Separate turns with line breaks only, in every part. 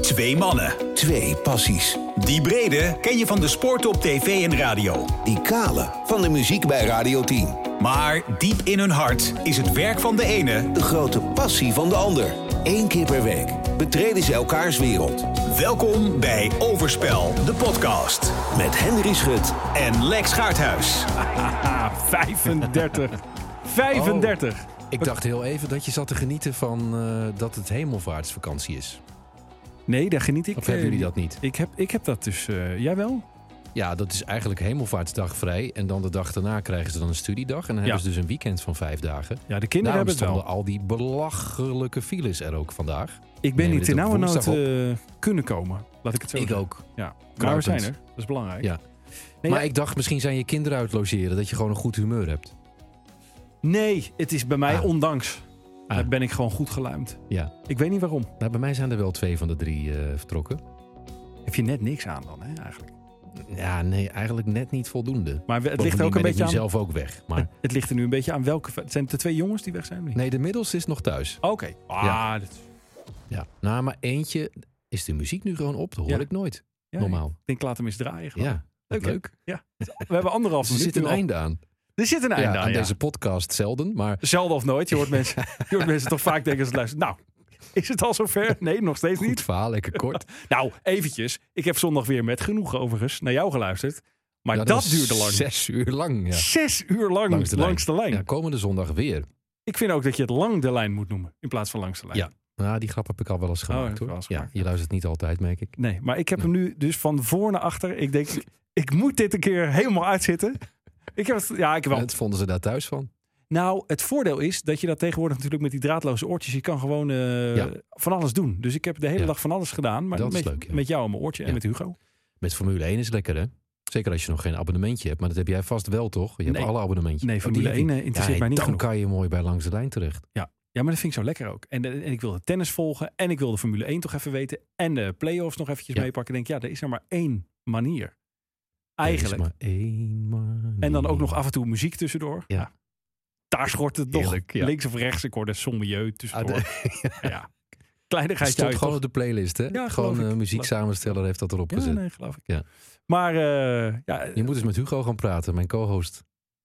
Twee mannen.
Twee passies.
Die brede ken je van de sport op tv en radio.
Die kale van de muziek bij Radio 10.
Maar diep in hun hart is het werk van de ene...
De grote passie van de ander. Eén keer per week betreden ze elkaars wereld.
Welkom bij Overspel, de podcast.
Met Henry Schut.
En Lex Gaardhuis.
Ah, 35. 35.
Ik dacht heel even dat je zat te genieten van eh, dat het hemelvaartsvakantie is.
Nee, daar geniet ik.
Of hebben
eh,
jullie dat niet?
Ik heb, ik heb dat dus. eh, jij wel?
Ja, dat is eigenlijk hemelvaartsdag vrij. En dan de dag daarna krijgen ze dan een studiedag. En dan hebben ze dus een weekend van vijf dagen.
Ja, de kinderen
Daarom
hebben het
Nou, stonden
wel.
al die belachelijke files er ook vandaag.
Ik ben
nemen
niet
dit
in
op
nauwe nood
woensdag op.
eh, kunnen komen. Laat ik het zo
Ik
zeggen.
ook.
Ja. Maar we zijn
Knarpend.
er. Dat is belangrijk.
Ja.
Nee,
maar
ja.
ik dacht, misschien zijn je kinderen uit logeren. Dat je gewoon een goed humeur hebt.
nee, het is bij mij
Ah.
ondanks.
Ah.
Daar ben ik gewoon goed geluimd.
Ja.
Ik weet niet waarom.
Nou, bij mij zijn er wel twee van de drie eh, vertrokken.
Heb je net niks aan dan, hè, eigenlijk.
Ja, nee, eigenlijk net niet voldoende.
Maar we- het ligt er ook
Bovendien
een
ben ik
beetje aan.
nu zelf ook weg. Maar
Het ligt er nu een beetje aan welke. Zijn het de twee jongens die weg zijn? of niet?
nee, de middelste is nog thuis.
Oké. Ah,
Ja.
dat
Ja. Nou, maar eentje is de muziek nu gewoon op. Dat hoor
Ja.
ik nooit.
ja,
Normaal.
Ik denk, laat hem eens draaien. gewoon.
Ja, leuk.
Leuk,
leuk.
We hebben anderhalf
Dus er
minuut
zit een
nu al.
einde aan.
Er zit een
Ja,
einde aan,
aan
ja.
deze podcast zelden, maar
Zelden of nooit. Je hoort mensen, je hoort mensen toch vaak denken als het luisteren. Nou, is het al zover? Nee, nog steeds
goed
niet.
verhaal, lekker kort.
Nou, eventjes. Ik heb zondag weer met genoegen overigens naar jou geluisterd. Maar
Ja,
dat
was
duurde lang. Zes,
Zes uur lang, ja.
uur lang langs de lijn.
Ja, komende zondag weer.
Ik vind ook dat je het lang de lijn moet noemen in plaats van langs de lijn.
Ja. Nou, die grap heb ik al wel eens
dat
gemaakt,
Oh, heb je wel
hoor.
eens
Ja,
gemaakt.
je luistert niet altijd, merk ik.
Nee, maar ik heb hem nu dus van voor naar achter. Ik denk, ik moet dit een keer helemaal uitzitten. Ik heb het, ja, ik heb wel
Dat vonden ze daar thuis van.
Nou, het voordeel is dat je dat tegenwoordig natuurlijk met die draadloze oortjes, je kan gewoon eh,
Ja.
van alles doen. Dus ik heb de hele
Ja.
dag van alles gedaan, maar
Dat is
met,
leuk, ja.
met jou aan mijn oortje en
Ja. Oh,
met Hugo.
Met Formule 1 is lekker, hè? Zeker als je nog geen abonnementje hebt. Maar dat heb jij vast wel, toch? Je hebt
Nee.
alle abonnementjes.
Nee,
Oh,
Formule
die heb je.
1 eh, interesseert
Ja,
mij niet
dan
genoeg.
kan je mooi bij Langs de Lijn terecht.
Ja, maar dat vind ik zo lekker ook. En, eh, en ik wilde tennis volgen en ik wilde Formule 1 toch even weten en de play-offs nog eventjes
Ja.
meepakken. Ik denk, ja, er is er maar één manier.
Er
Eigenlijk.
is maar één manier.
En dan ook nog af en toe muziek tussendoor.
Ja.
Nou, Daar schort het toch
Heerlijk, ja.
links of rechts. Ik hoorde sommelieu tussendoor.
Ah,
ja. Kleinigheid
stond gewoon op de playlist, hè?
Ja,
gewoon
geloof ik.
eh, muzieksamensteller heeft dat erop
Ja,
gezet.
nee, geloof ik.
Ja.
Maar eh, ja,
Je moet eens met Hugo gaan praten, mijn co-host.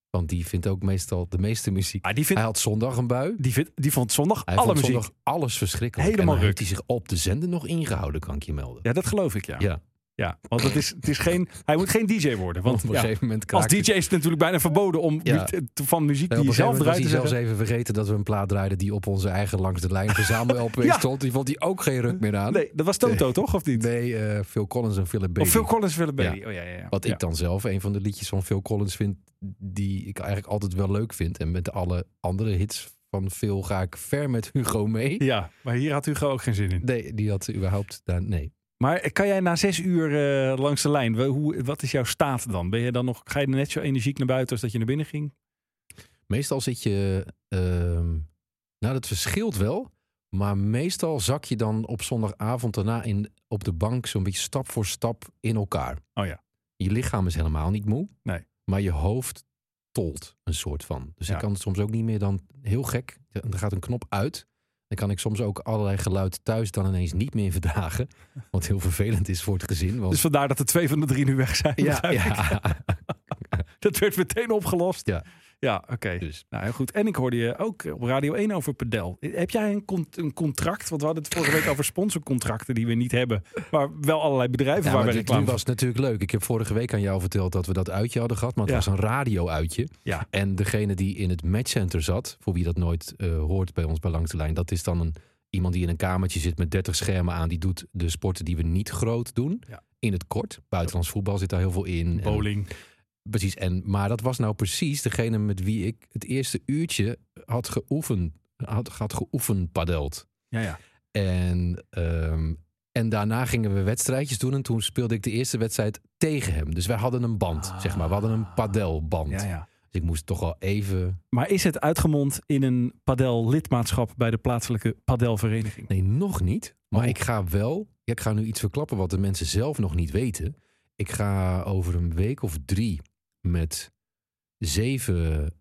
Want die vindt ook meestal de meeste muziek.
ah, die,
Hij
vindt
had zondag een bui.
die, vindt die vond zondag
Hij
alle
vond
muziek.
zondag alles verschrikkelijk.
Helemaal
en dan
ruk.
heeft hij zich op de zender nog ingehouden, kan ik je melden.
Ja, dat geloof ik, ja.
Ja.
Ja, want het is, het is geen, hij moet geen DJ worden. Want
op een
ja,
gegeven moment
als
kraakte-
DJ is het natuurlijk bijna verboden om
Ja.
mu- te- van muziek
En
die
op
je
een
zelf
gegeven moment was
draait
hij
te
zelfs
zeggen.
even vergeten dat we een plaat draaiden die op onze eigen langs de lijn verzamel LP
Ja.
stond. Die vond hij ook geen ruk meer aan.
Nee, dat was Toto, toch? Of niet?
Nee, eh, Phil Collins en Philip Bailey.
Of Phil Collins willen Bailey. Oh, ja, ja, ja.
Wat
Ja.
ik dan zelf een van de liedjes van Phil Collins vind, die ik eigenlijk altijd wel leuk vind. En met alle andere hits van Phil ga ik ver met Hugo mee.
Ja, maar hier had Hugo ook geen zin in.
Nee, die had überhaupt daar. Nee.
Maar kan jij na zes uur eh, langs de lijn, wel, hoe, wat is jouw staat dan? Ben je dan nog, ga je er net zo energiek naar buiten als dat je naar binnen ging?
Meestal zit je. ehm, nou, dat verschilt wel. Maar meestal zak je dan op zondagavond daarna in, op de bank zo'n beetje stap voor stap in elkaar.
Oh ja.
Je lichaam is helemaal niet moe.
Nee.
Maar je hoofd tolt een soort van. Dus
Ja.
ik kan het soms ook niet meer dan heel gek. Er gaat een knop uit. Dan kan ik soms ook allerlei geluid thuis dan ineens niet meer verdragen. Wat heel vervelend is voor het gezin. Want,
Dus vandaar dat er twee van de drie nu weg zijn.
ja,
begrijp ik.
ja.
Dat werd meteen opgelost.
Ja.
Ja, oké.
Dus.
Nou, heel goed. En ik hoorde je ook op Radio 1 over Pedel. Heb jij een, con- een contract? Want we hadden het vorige week over sponsorcontracten die we niet hebben. Maar wel allerlei bedrijven
Ja,
waar
maar
we
dit nu
reclame
was het natuurlijk leuk. Ik heb vorige week aan jou verteld dat we dat uitje hadden gehad. Maar het
Ja.
was een radio-uitje.
Ja.
En degene die in het matchcenter zat, voor wie dat nooit eh, hoort bij ons bij Langs de Lijn, dat is dan een, iemand die in een kamertje zit met 30 schermen aan. Die doet de sporten die we niet groot doen.
Ja.
In het kort. Buitenlands voetbal zit daar heel veel in. En-
Bowling.
precies. En, maar dat was nou precies degene met wie ik het eerste uurtje had geoefend. Had, had geoefend padeld.
Ja, ja.
En, ehm, en daarna gingen we wedstrijdjes doen. En toen speelde ik de eerste wedstrijd tegen hem. Dus wij hadden een band,
Ah.
zeg maar. We hadden een padelband.
ja, ja.
Dus ik moest toch wel even...
Maar is het uitgemond in een Padel-lidmaatschap bij de plaatselijke Padel-vereniging?
Nee, nog niet. Maar
Oh.
ik ga wel... Ik ga nu iets verklappen wat de mensen zelf nog niet weten. Ik ga over een week of drie met zeven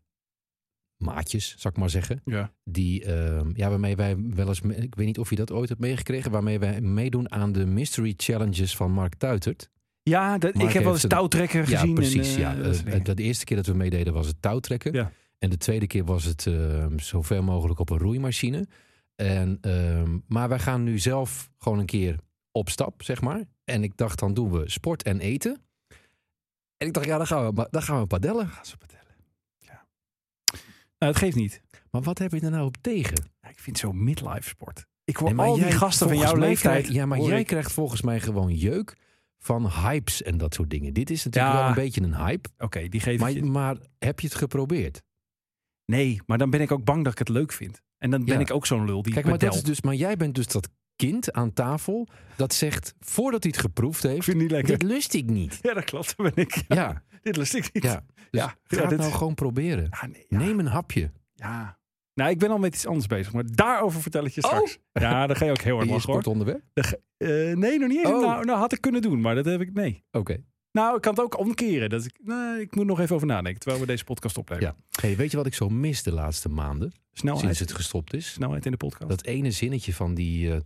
maatjes, zal ik maar zeggen.
Ja.
Die, ehm, ja, waarmee wij wel eens, me- ik weet niet of je dat ooit hebt meegekregen, waarmee wij meedoen aan de mystery challenges van Mark Tuitert.
Ja, dat, ik
Mark
heb wel eens
heeft een-
touwtrekker gezien.
ja,
en,
precies.
eh,
ja.
dat
Eh,
soort dingen.
dat de eerste keer dat we meededen was het touwtrekken.
Ja.
En de tweede keer was het ehm zo ver mogelijk op een roeimachine. En, ehm, maar wij gaan nu zelf gewoon een keer op stap, zeg maar. En ik dacht, dan doen we sport en eten. En ik dacht, ja, dan gaan we, dan gaan we padellen.
Gaan ze vertellen. Ja. Nou, het geeft niet.
Maar wat heb je er nou op tegen?
Ja, ik vind zo'n midlife sport. Ik hoor
Nee, maar
al
jij-
die gasten van
volgens
jouw
mij
leeftijd.
krijg- ja, maar
hoor
jij
ik-
krijgt volgens mij gewoon jeuk van hypes en dat soort dingen. Dit is natuurlijk
Ja.
wel een beetje een hype.
Oké, die geef ik
Maar,
je.
maar heb je het geprobeerd?
Nee, maar dan ben ik ook bang dat ik het leuk vind. En dan ben
Ja.
ik ook zo'n lul die
Kijk, maar,
bedelt.
dat is dus, maar jij bent dus dat kind aan tafel dat zegt, voordat hij het geproefd
Ik
heeft,
vind het niet lekker.
dit lust ik niet.
Ja, dat klopt. Dat ben ik.
Ja,
Dit lust ik niet.
ja. Dus
Ja,
ja,
ja,
ga het
dit-
nou gewoon proberen.
Ah, nee, ja.
Neem een hapje.
Ja. Nou, ik ben al met iets anders bezig, maar daarover vertel ik je straks. Ja, daar ga je ook heel hard
Oh! In je
lachen hoor.
sportonderwerp?
Eh, nee, nog niet eens.
Oh.
Nou, nou, had ik kunnen doen, maar dat heb ik, nee.
Oké.
Nou, ik kan het ook omkeren. Dat ik, nou, ik moet nog even over nadenken, terwijl we deze podcast opnemen.
Ja. Hey, weet je wat ik zo mis de laatste maanden,
Snelheid,
sinds het gestopt is?
snelheid in de podcast.
Dat ene zinnetje van die eh,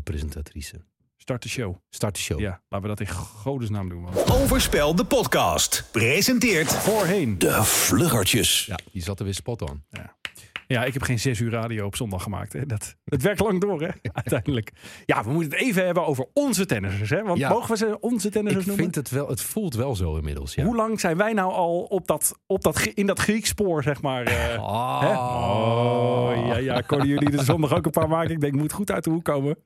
talkshow-presentatrice.
Start de show.
Start de show.
Ja, laten we dat in godesnaam doen. want
Overspel de podcast. Presenteert
Voorheen.
De Vluggertjes.
Ja, die zat er weer spot on.
Ja, ik heb geen zes uur radio op zondag gemaakt. Hè. Dat, het werkt lang door, hè? Uiteindelijk. Ja, we moeten het even hebben over onze tennissers, hè? Want
Ja.
mogen we ze onze tennissers
Ik
noemen?
vind het wel, het voelt wel zo inmiddels. Ja.
Hoe lang zijn wij nou al op dat, op dat, Grie- in dat Grieks spoor, zeg maar? eh,
Ah.
hè? Oh, ja, ja. Konden jullie er zondag ook een paar maken? Ik denk, moet goed uit de hoek komen.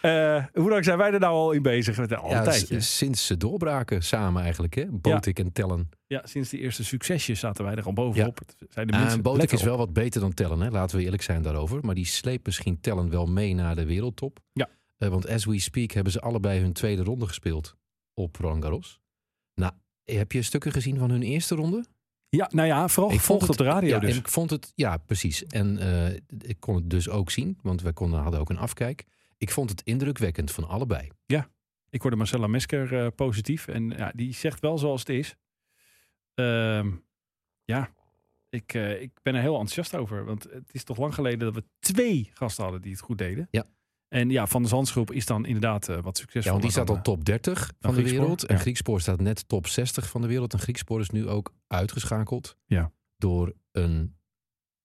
Eh, hoe lang zijn wij er nou al in bezig? Met al een
Ja,
tijdje.
s- sinds ze doorbraken samen eigenlijk, hè? Botik en Tellen.
Ja, sinds die eerste succesjes zaten wij er al bovenop. Het Zijn de
Ah,
mensen
en Botik
lekker
is wel wat beter dan Tellen, hè? laten we eerlijk zijn daarover. Maar die sleept misschien Tellen wel mee naar de wereldtop.
Ja.
Eh, want as we speak hebben ze allebei hun tweede ronde gespeeld op Roland Garros. Nou, heb je stukken gezien van hun eerste ronde?
op. Ja, nou ja, vooral
Ik vond
gevolgd op
het-
de radio
ja,
dus.
en ik vond het, ja, precies. En eh, ik kon het dus ook zien, want we konden, hadden ook een afkijk. Ik vond het indrukwekkend van allebei.
Ik hoorde Marcella Mesker eh, positief. En ja, die zegt wel zoals het is. Ehm, ja, ik, eh, ik ben er heel enthousiast over. Want het is toch lang geleden dat we twee gasten hadden die het goed deden.
Ja.
En ja, Van de Zandsgroep is dan inderdaad eh, wat
Ja,
succesvol.
want die staat
dan,
al top 30 van de
Griekspoor,
wereld. En
ja.
Griekspoor staat net top 60 van de wereld. En Griekspoor is nu ook uitgeschakeld
Ja.
door een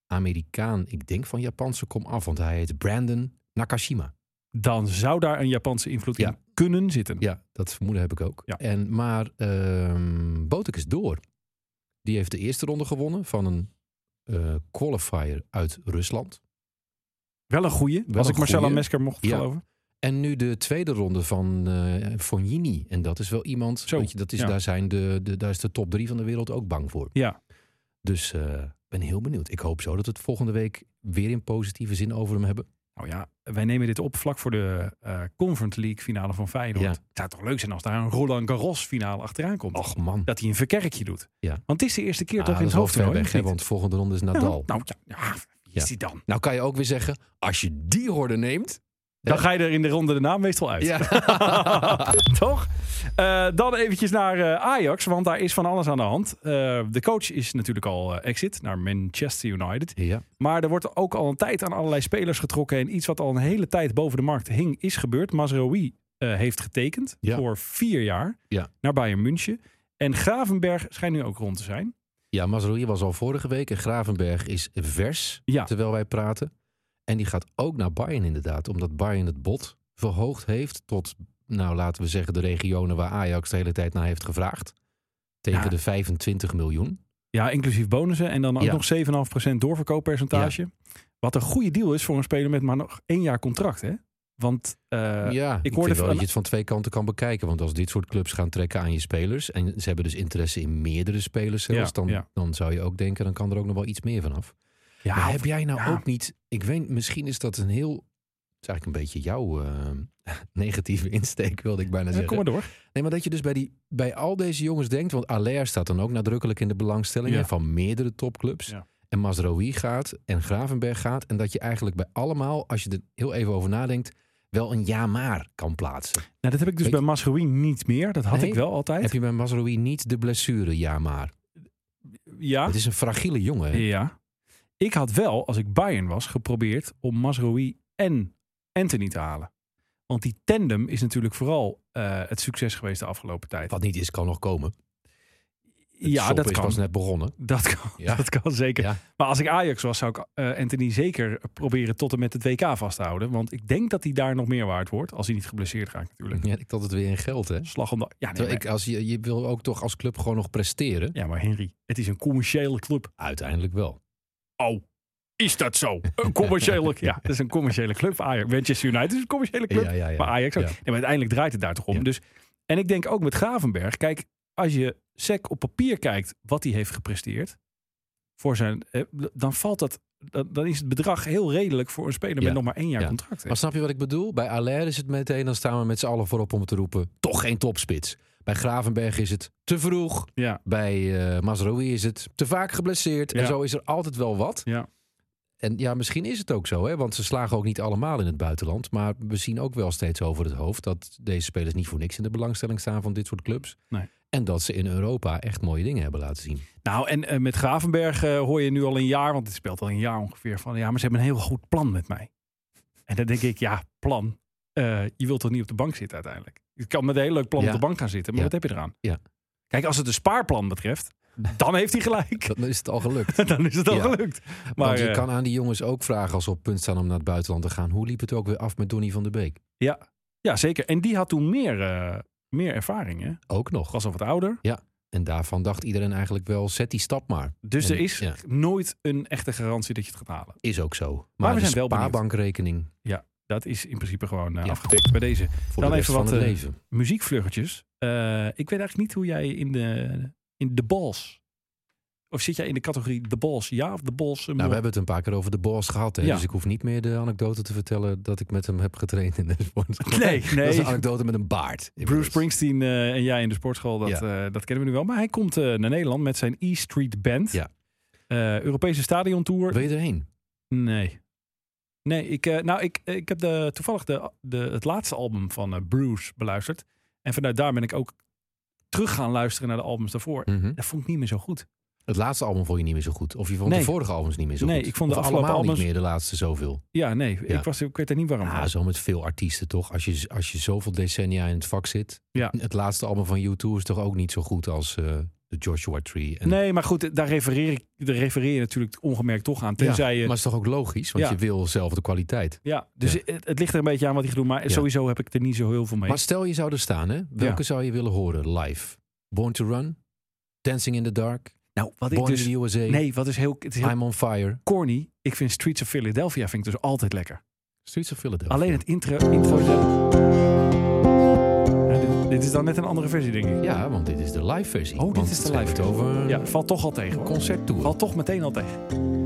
Amerikaan, ik denk van Japanse kom af, want hij heet Brandon Nakashima.
eh, Dan zou daar een Japanse invloed in
Ja.
kunnen zitten.
Ja, dat vermoeden heb ik ook.
Ja.
En, maar ehm Botek is door. Die heeft de eerste ronde gewonnen van een eh, qualifier uit Rusland.
Wel een goeie, als
een
ik Marcella
goeie.
Mesker mocht
Ja.
geloven.
En nu de tweede ronde van eh Fognini. En dat is wel iemand,
Zo,
weet je, dat is,
ja.
daar, zijn de, de, daar is de top drie van de wereld ook bang voor.
Ja.
Dus ik ben heel benieuwd. Ik hoop zo dat we het volgende week weer in positieve zin over hem hebben.
Nou ja, wij nemen dit op vlak voor de eh Conference League finale van Feyenoord.
Ja.
Het zou toch leuk zijn als daar een Roland Garros finale achteraan komt.
Och man.
dat hij een verkerkje doet.
Ja.
Want het is de eerste keer
Ah,
toch in
dat
het
is wel
hoofd
ver weg, hè, want volgende ronde is Nadal.
nou,
nou,
ja, ja, wie is
Ja.
die dan?
kan je ook weer zeggen, als je die horde neemt...
Dan ga je er in de ronde daarna meestal uit. toch? Eh, dan eventjes naar eh, Ajax, want daar is van alles aan de hand. Eh, de coach is natuurlijk al eh, exit naar Manchester United.
ja.
Maar er wordt ook al een tijd aan allerlei spelers getrokken. En iets wat al een hele tijd boven de markt hing, is gebeurd. Mazraoui eh, heeft getekend
Ja.
voor vier jaar
Ja.
naar Bayern München. En Gravenberg schijnt nu ook rond te zijn.
ja, Mazraoui was al vorige week en Gravenberg is vers,
Ja.
terwijl wij praten. En die gaat ook naar Bayern inderdaad, omdat Bayern het bod verhoogd heeft tot, nou laten we zeggen, de regionen waar Ajax de hele tijd naar heeft gevraagd. Tegen
Ja.
de 25 miljoen.
Ja, inclusief bonussen en dan ook
Ja.
nog 7,5% doorverkooppercentage. Wat een goede deal is voor een speler met maar nog één jaar contract, hè? Want eh,
ja, ik,
hoorde
vind wel
van-
dat je het van twee kanten kan bekijken. Want als dit soort clubs gaan trekken aan je spelers... en ze hebben dus interesse in meerdere spelers zelfs...
Ja,
dan,
ja.
dan zou je ook denken, dan kan er ook nog wel iets meer vanaf.
ja, eh,
maar heb jij nou
ja.
ook niet... Ik weet, misschien is dat een heel... Het is eigenlijk een beetje jouw eh, negatieve insteek, wilde ik bijna
ja, kom
zeggen.
maar door.
Nee, maar dat je dus bij, die, bij al deze jongens denkt... want Allaire staat dan ook nadrukkelijk in de belangstelling...
Ja.
hè, van meerdere topclubs.
Ja.
En Mazraoui gaat en Gravenberg gaat... en dat je eigenlijk bij allemaal, als je er heel even over nadenkt... wel een ja maar kan plaatsen.
Nou, dat heb ik dus
Weet
bij Masrowi niet meer. Dat had
Nee?
ik wel altijd.
Heb je bij Mazraoui niet de blessure ja maar?
Ja,
Het is een fragiele jongen. hè?
Ah. ja. Ik had wel, als ik Bayern was, geprobeerd om Masroi en Anthony te halen. Want die tandem is natuurlijk vooral eh, het succes geweest de afgelopen tijd.
Wat niet is, kan nog komen. Het
ja,
stoppen
dat
is
kan.
pas net begonnen.
Dat kan,
Ja.
dat kan zeker.
Ja.
Maar als ik Ajax was, zou ik eh, Anthony zeker proberen tot en met het WK vast te houden. Want ik denk dat hij daar nog meer waard wordt. Als hij niet geblesseerd raakt natuurlijk.
Ja, ik had het weer in geld, hè?
Slag om de... Ja, nee,
Terwijl
maar-
ik, als je, je wil ook toch als club gewoon nog presteren.
ja, maar Henry, het is een commerciële club.
Uiteindelijk wel.
Oh, is dat zo? Een commerciële... ja, het is een commerciële club. Ajax, Manchester United is een commerciële club.
Ja, ja, ja.
Maar Ajax ook.
Ja.
Nee, maar uiteindelijk draait het daar toch om.
Ja.
Dus, en ik denk ook met Gravenberg. Kijk, als je Sek op papier kijkt wat hij heeft gepresteerd. Voor zijn, eh, dan valt dat... Dan dan is het bedrag heel redelijk voor een speler
Ja.
met nog maar één jaar
Ja.
contract. hè.
Maar snap je wat ik bedoel? Bij Allaire is het meteen, dan staan we met z'n allen voorop om te roepen, toch geen topspits. Bij Gravenberg is het te vroeg.
Ja,
Bij eh Mazraoui is het te vaak geblesseerd.
Ja.
En zo is er altijd wel wat.
Ja.
En ja, misschien is het ook zo, hè? want ze slagen ook niet allemaal in het buitenland. Maar we zien ook wel steeds over het hoofd dat deze spelers niet voor niks in de belangstelling staan van dit soort clubs.
Nee.
En dat ze in Europa echt mooie dingen hebben laten zien.
nou en eh, met Gravenberg eh, hoor je nu al een jaar, want het speelt al een jaar ongeveer, van ja, maar ze hebben een heel goed plan met mij. En dan denk ik, ja, plan. Eh, je wilt toch niet op de bank zitten uiteindelijk? Je kan met een heel leuk plan
Ja.
op de bank gaan zitten, maar
Ja.
wat heb je eraan?
Ja.
Kijk, als het een spaarplan betreft, dan heeft hij gelijk.
Dan is het al gelukt.
dan is het al
Ja.
gelukt. Maar
Want je
eh,
kan aan die jongens ook vragen als ze op punt staan om naar het buitenland te gaan. Hoe liep het ook weer af met Donny van de Beek?
ja, zeker. En die had toen meer, eh, meer ervaring. Hè?
Ook nog.
Was al wat ouder.
En daarvan dacht iedereen eigenlijk wel, zet die stap maar.
Dus
En-
er is
ja.
nooit een echte garantie dat je het gaat halen.
Is ook zo. Maar,
we
de
zijn wel benieuwd.
spaarbankrekening
Dat is in principe gewoon eh
Ja.
afgetikt bij deze
voor
Dan
de rest
even
van
wat,
het
eh,
leven. Nou,
muziekvluggetjes. Eh, ik weet eigenlijk niet hoe jij in de, in de balls... Of zit jij in de categorie de balls ja of de balls... eh,
Nou, we
moe?
hebben het een paar keer over de boss gehad. Hè?
Ja.
Dus ik hoef niet meer de anekdote te vertellen dat ik met hem heb getraind in de sport.
Nee,
Dat is
nee.
een anekdote met een baard.
Bruce Springsteen eh, en jij in de sportschool, dat, eh, dat kennen we nu wel. Maar hij komt eh, naar Nederland met zijn E Street Band.
Ja.
Eh, Europese stadiontour.
Wil je erheen?
Nee. Nee, ik, eh, nou, ik, ik heb de, toevallig de, de, het laatste album van eh, Bruce beluisterd. En vanuit daar ben ik ook terug gaan luisteren naar de albums daarvoor.
Mhm.
Dat vond ik niet meer zo goed.
Het laatste album vond je niet meer zo goed. Of je vond
Nee.
de vorige albums niet meer zo
Nee,
goed.
ik vond de
Of
afgelopen
allemaal
albums-
niet meer de laatste zoveel.
Ja, nee,
Ja.
Ik, was, ik weet er niet waarom.
Ah, zo met veel artiesten toch. Als je, als je zoveel decennia in het vak zit.
Ja.
Het laatste album van U2 is toch ook niet zo goed als eh, de Joshua Tree. En
nee, maar goed, daar refereer, ik, daar refereer je natuurlijk ongemerkt toch aan. Tenzij
ja,
je...
maar is toch ook logisch, want
Ja.
je wil zelf de kwaliteit.
ja, dus
Ja.
Het, het ligt er een beetje aan wat ik ga doen. Maar
Ja.
sowieso heb ik er niet zo heel veel mee.
Maar stel je zou er staan, hè? welke zou je willen horen live? Born to Run, Dancing in the Dark,
nou, wat
Born in the USA,
Nee, wat is heel... Het is heel
I'm on Fire,
corny. Ik vind Streets of Philadelphia vind ik dus altijd lekker.
Streets of Philadelphia.
Alleen het intro. intro Ja, dit, dit is dan net een andere versie, denk ik.
Ja, want dit is de live versie.
Oh, dit
Want
is de
ze
live
hebben het over
Ja, valt toch al tegen. hoor.
concerttour.
Valt toch meteen al tegen.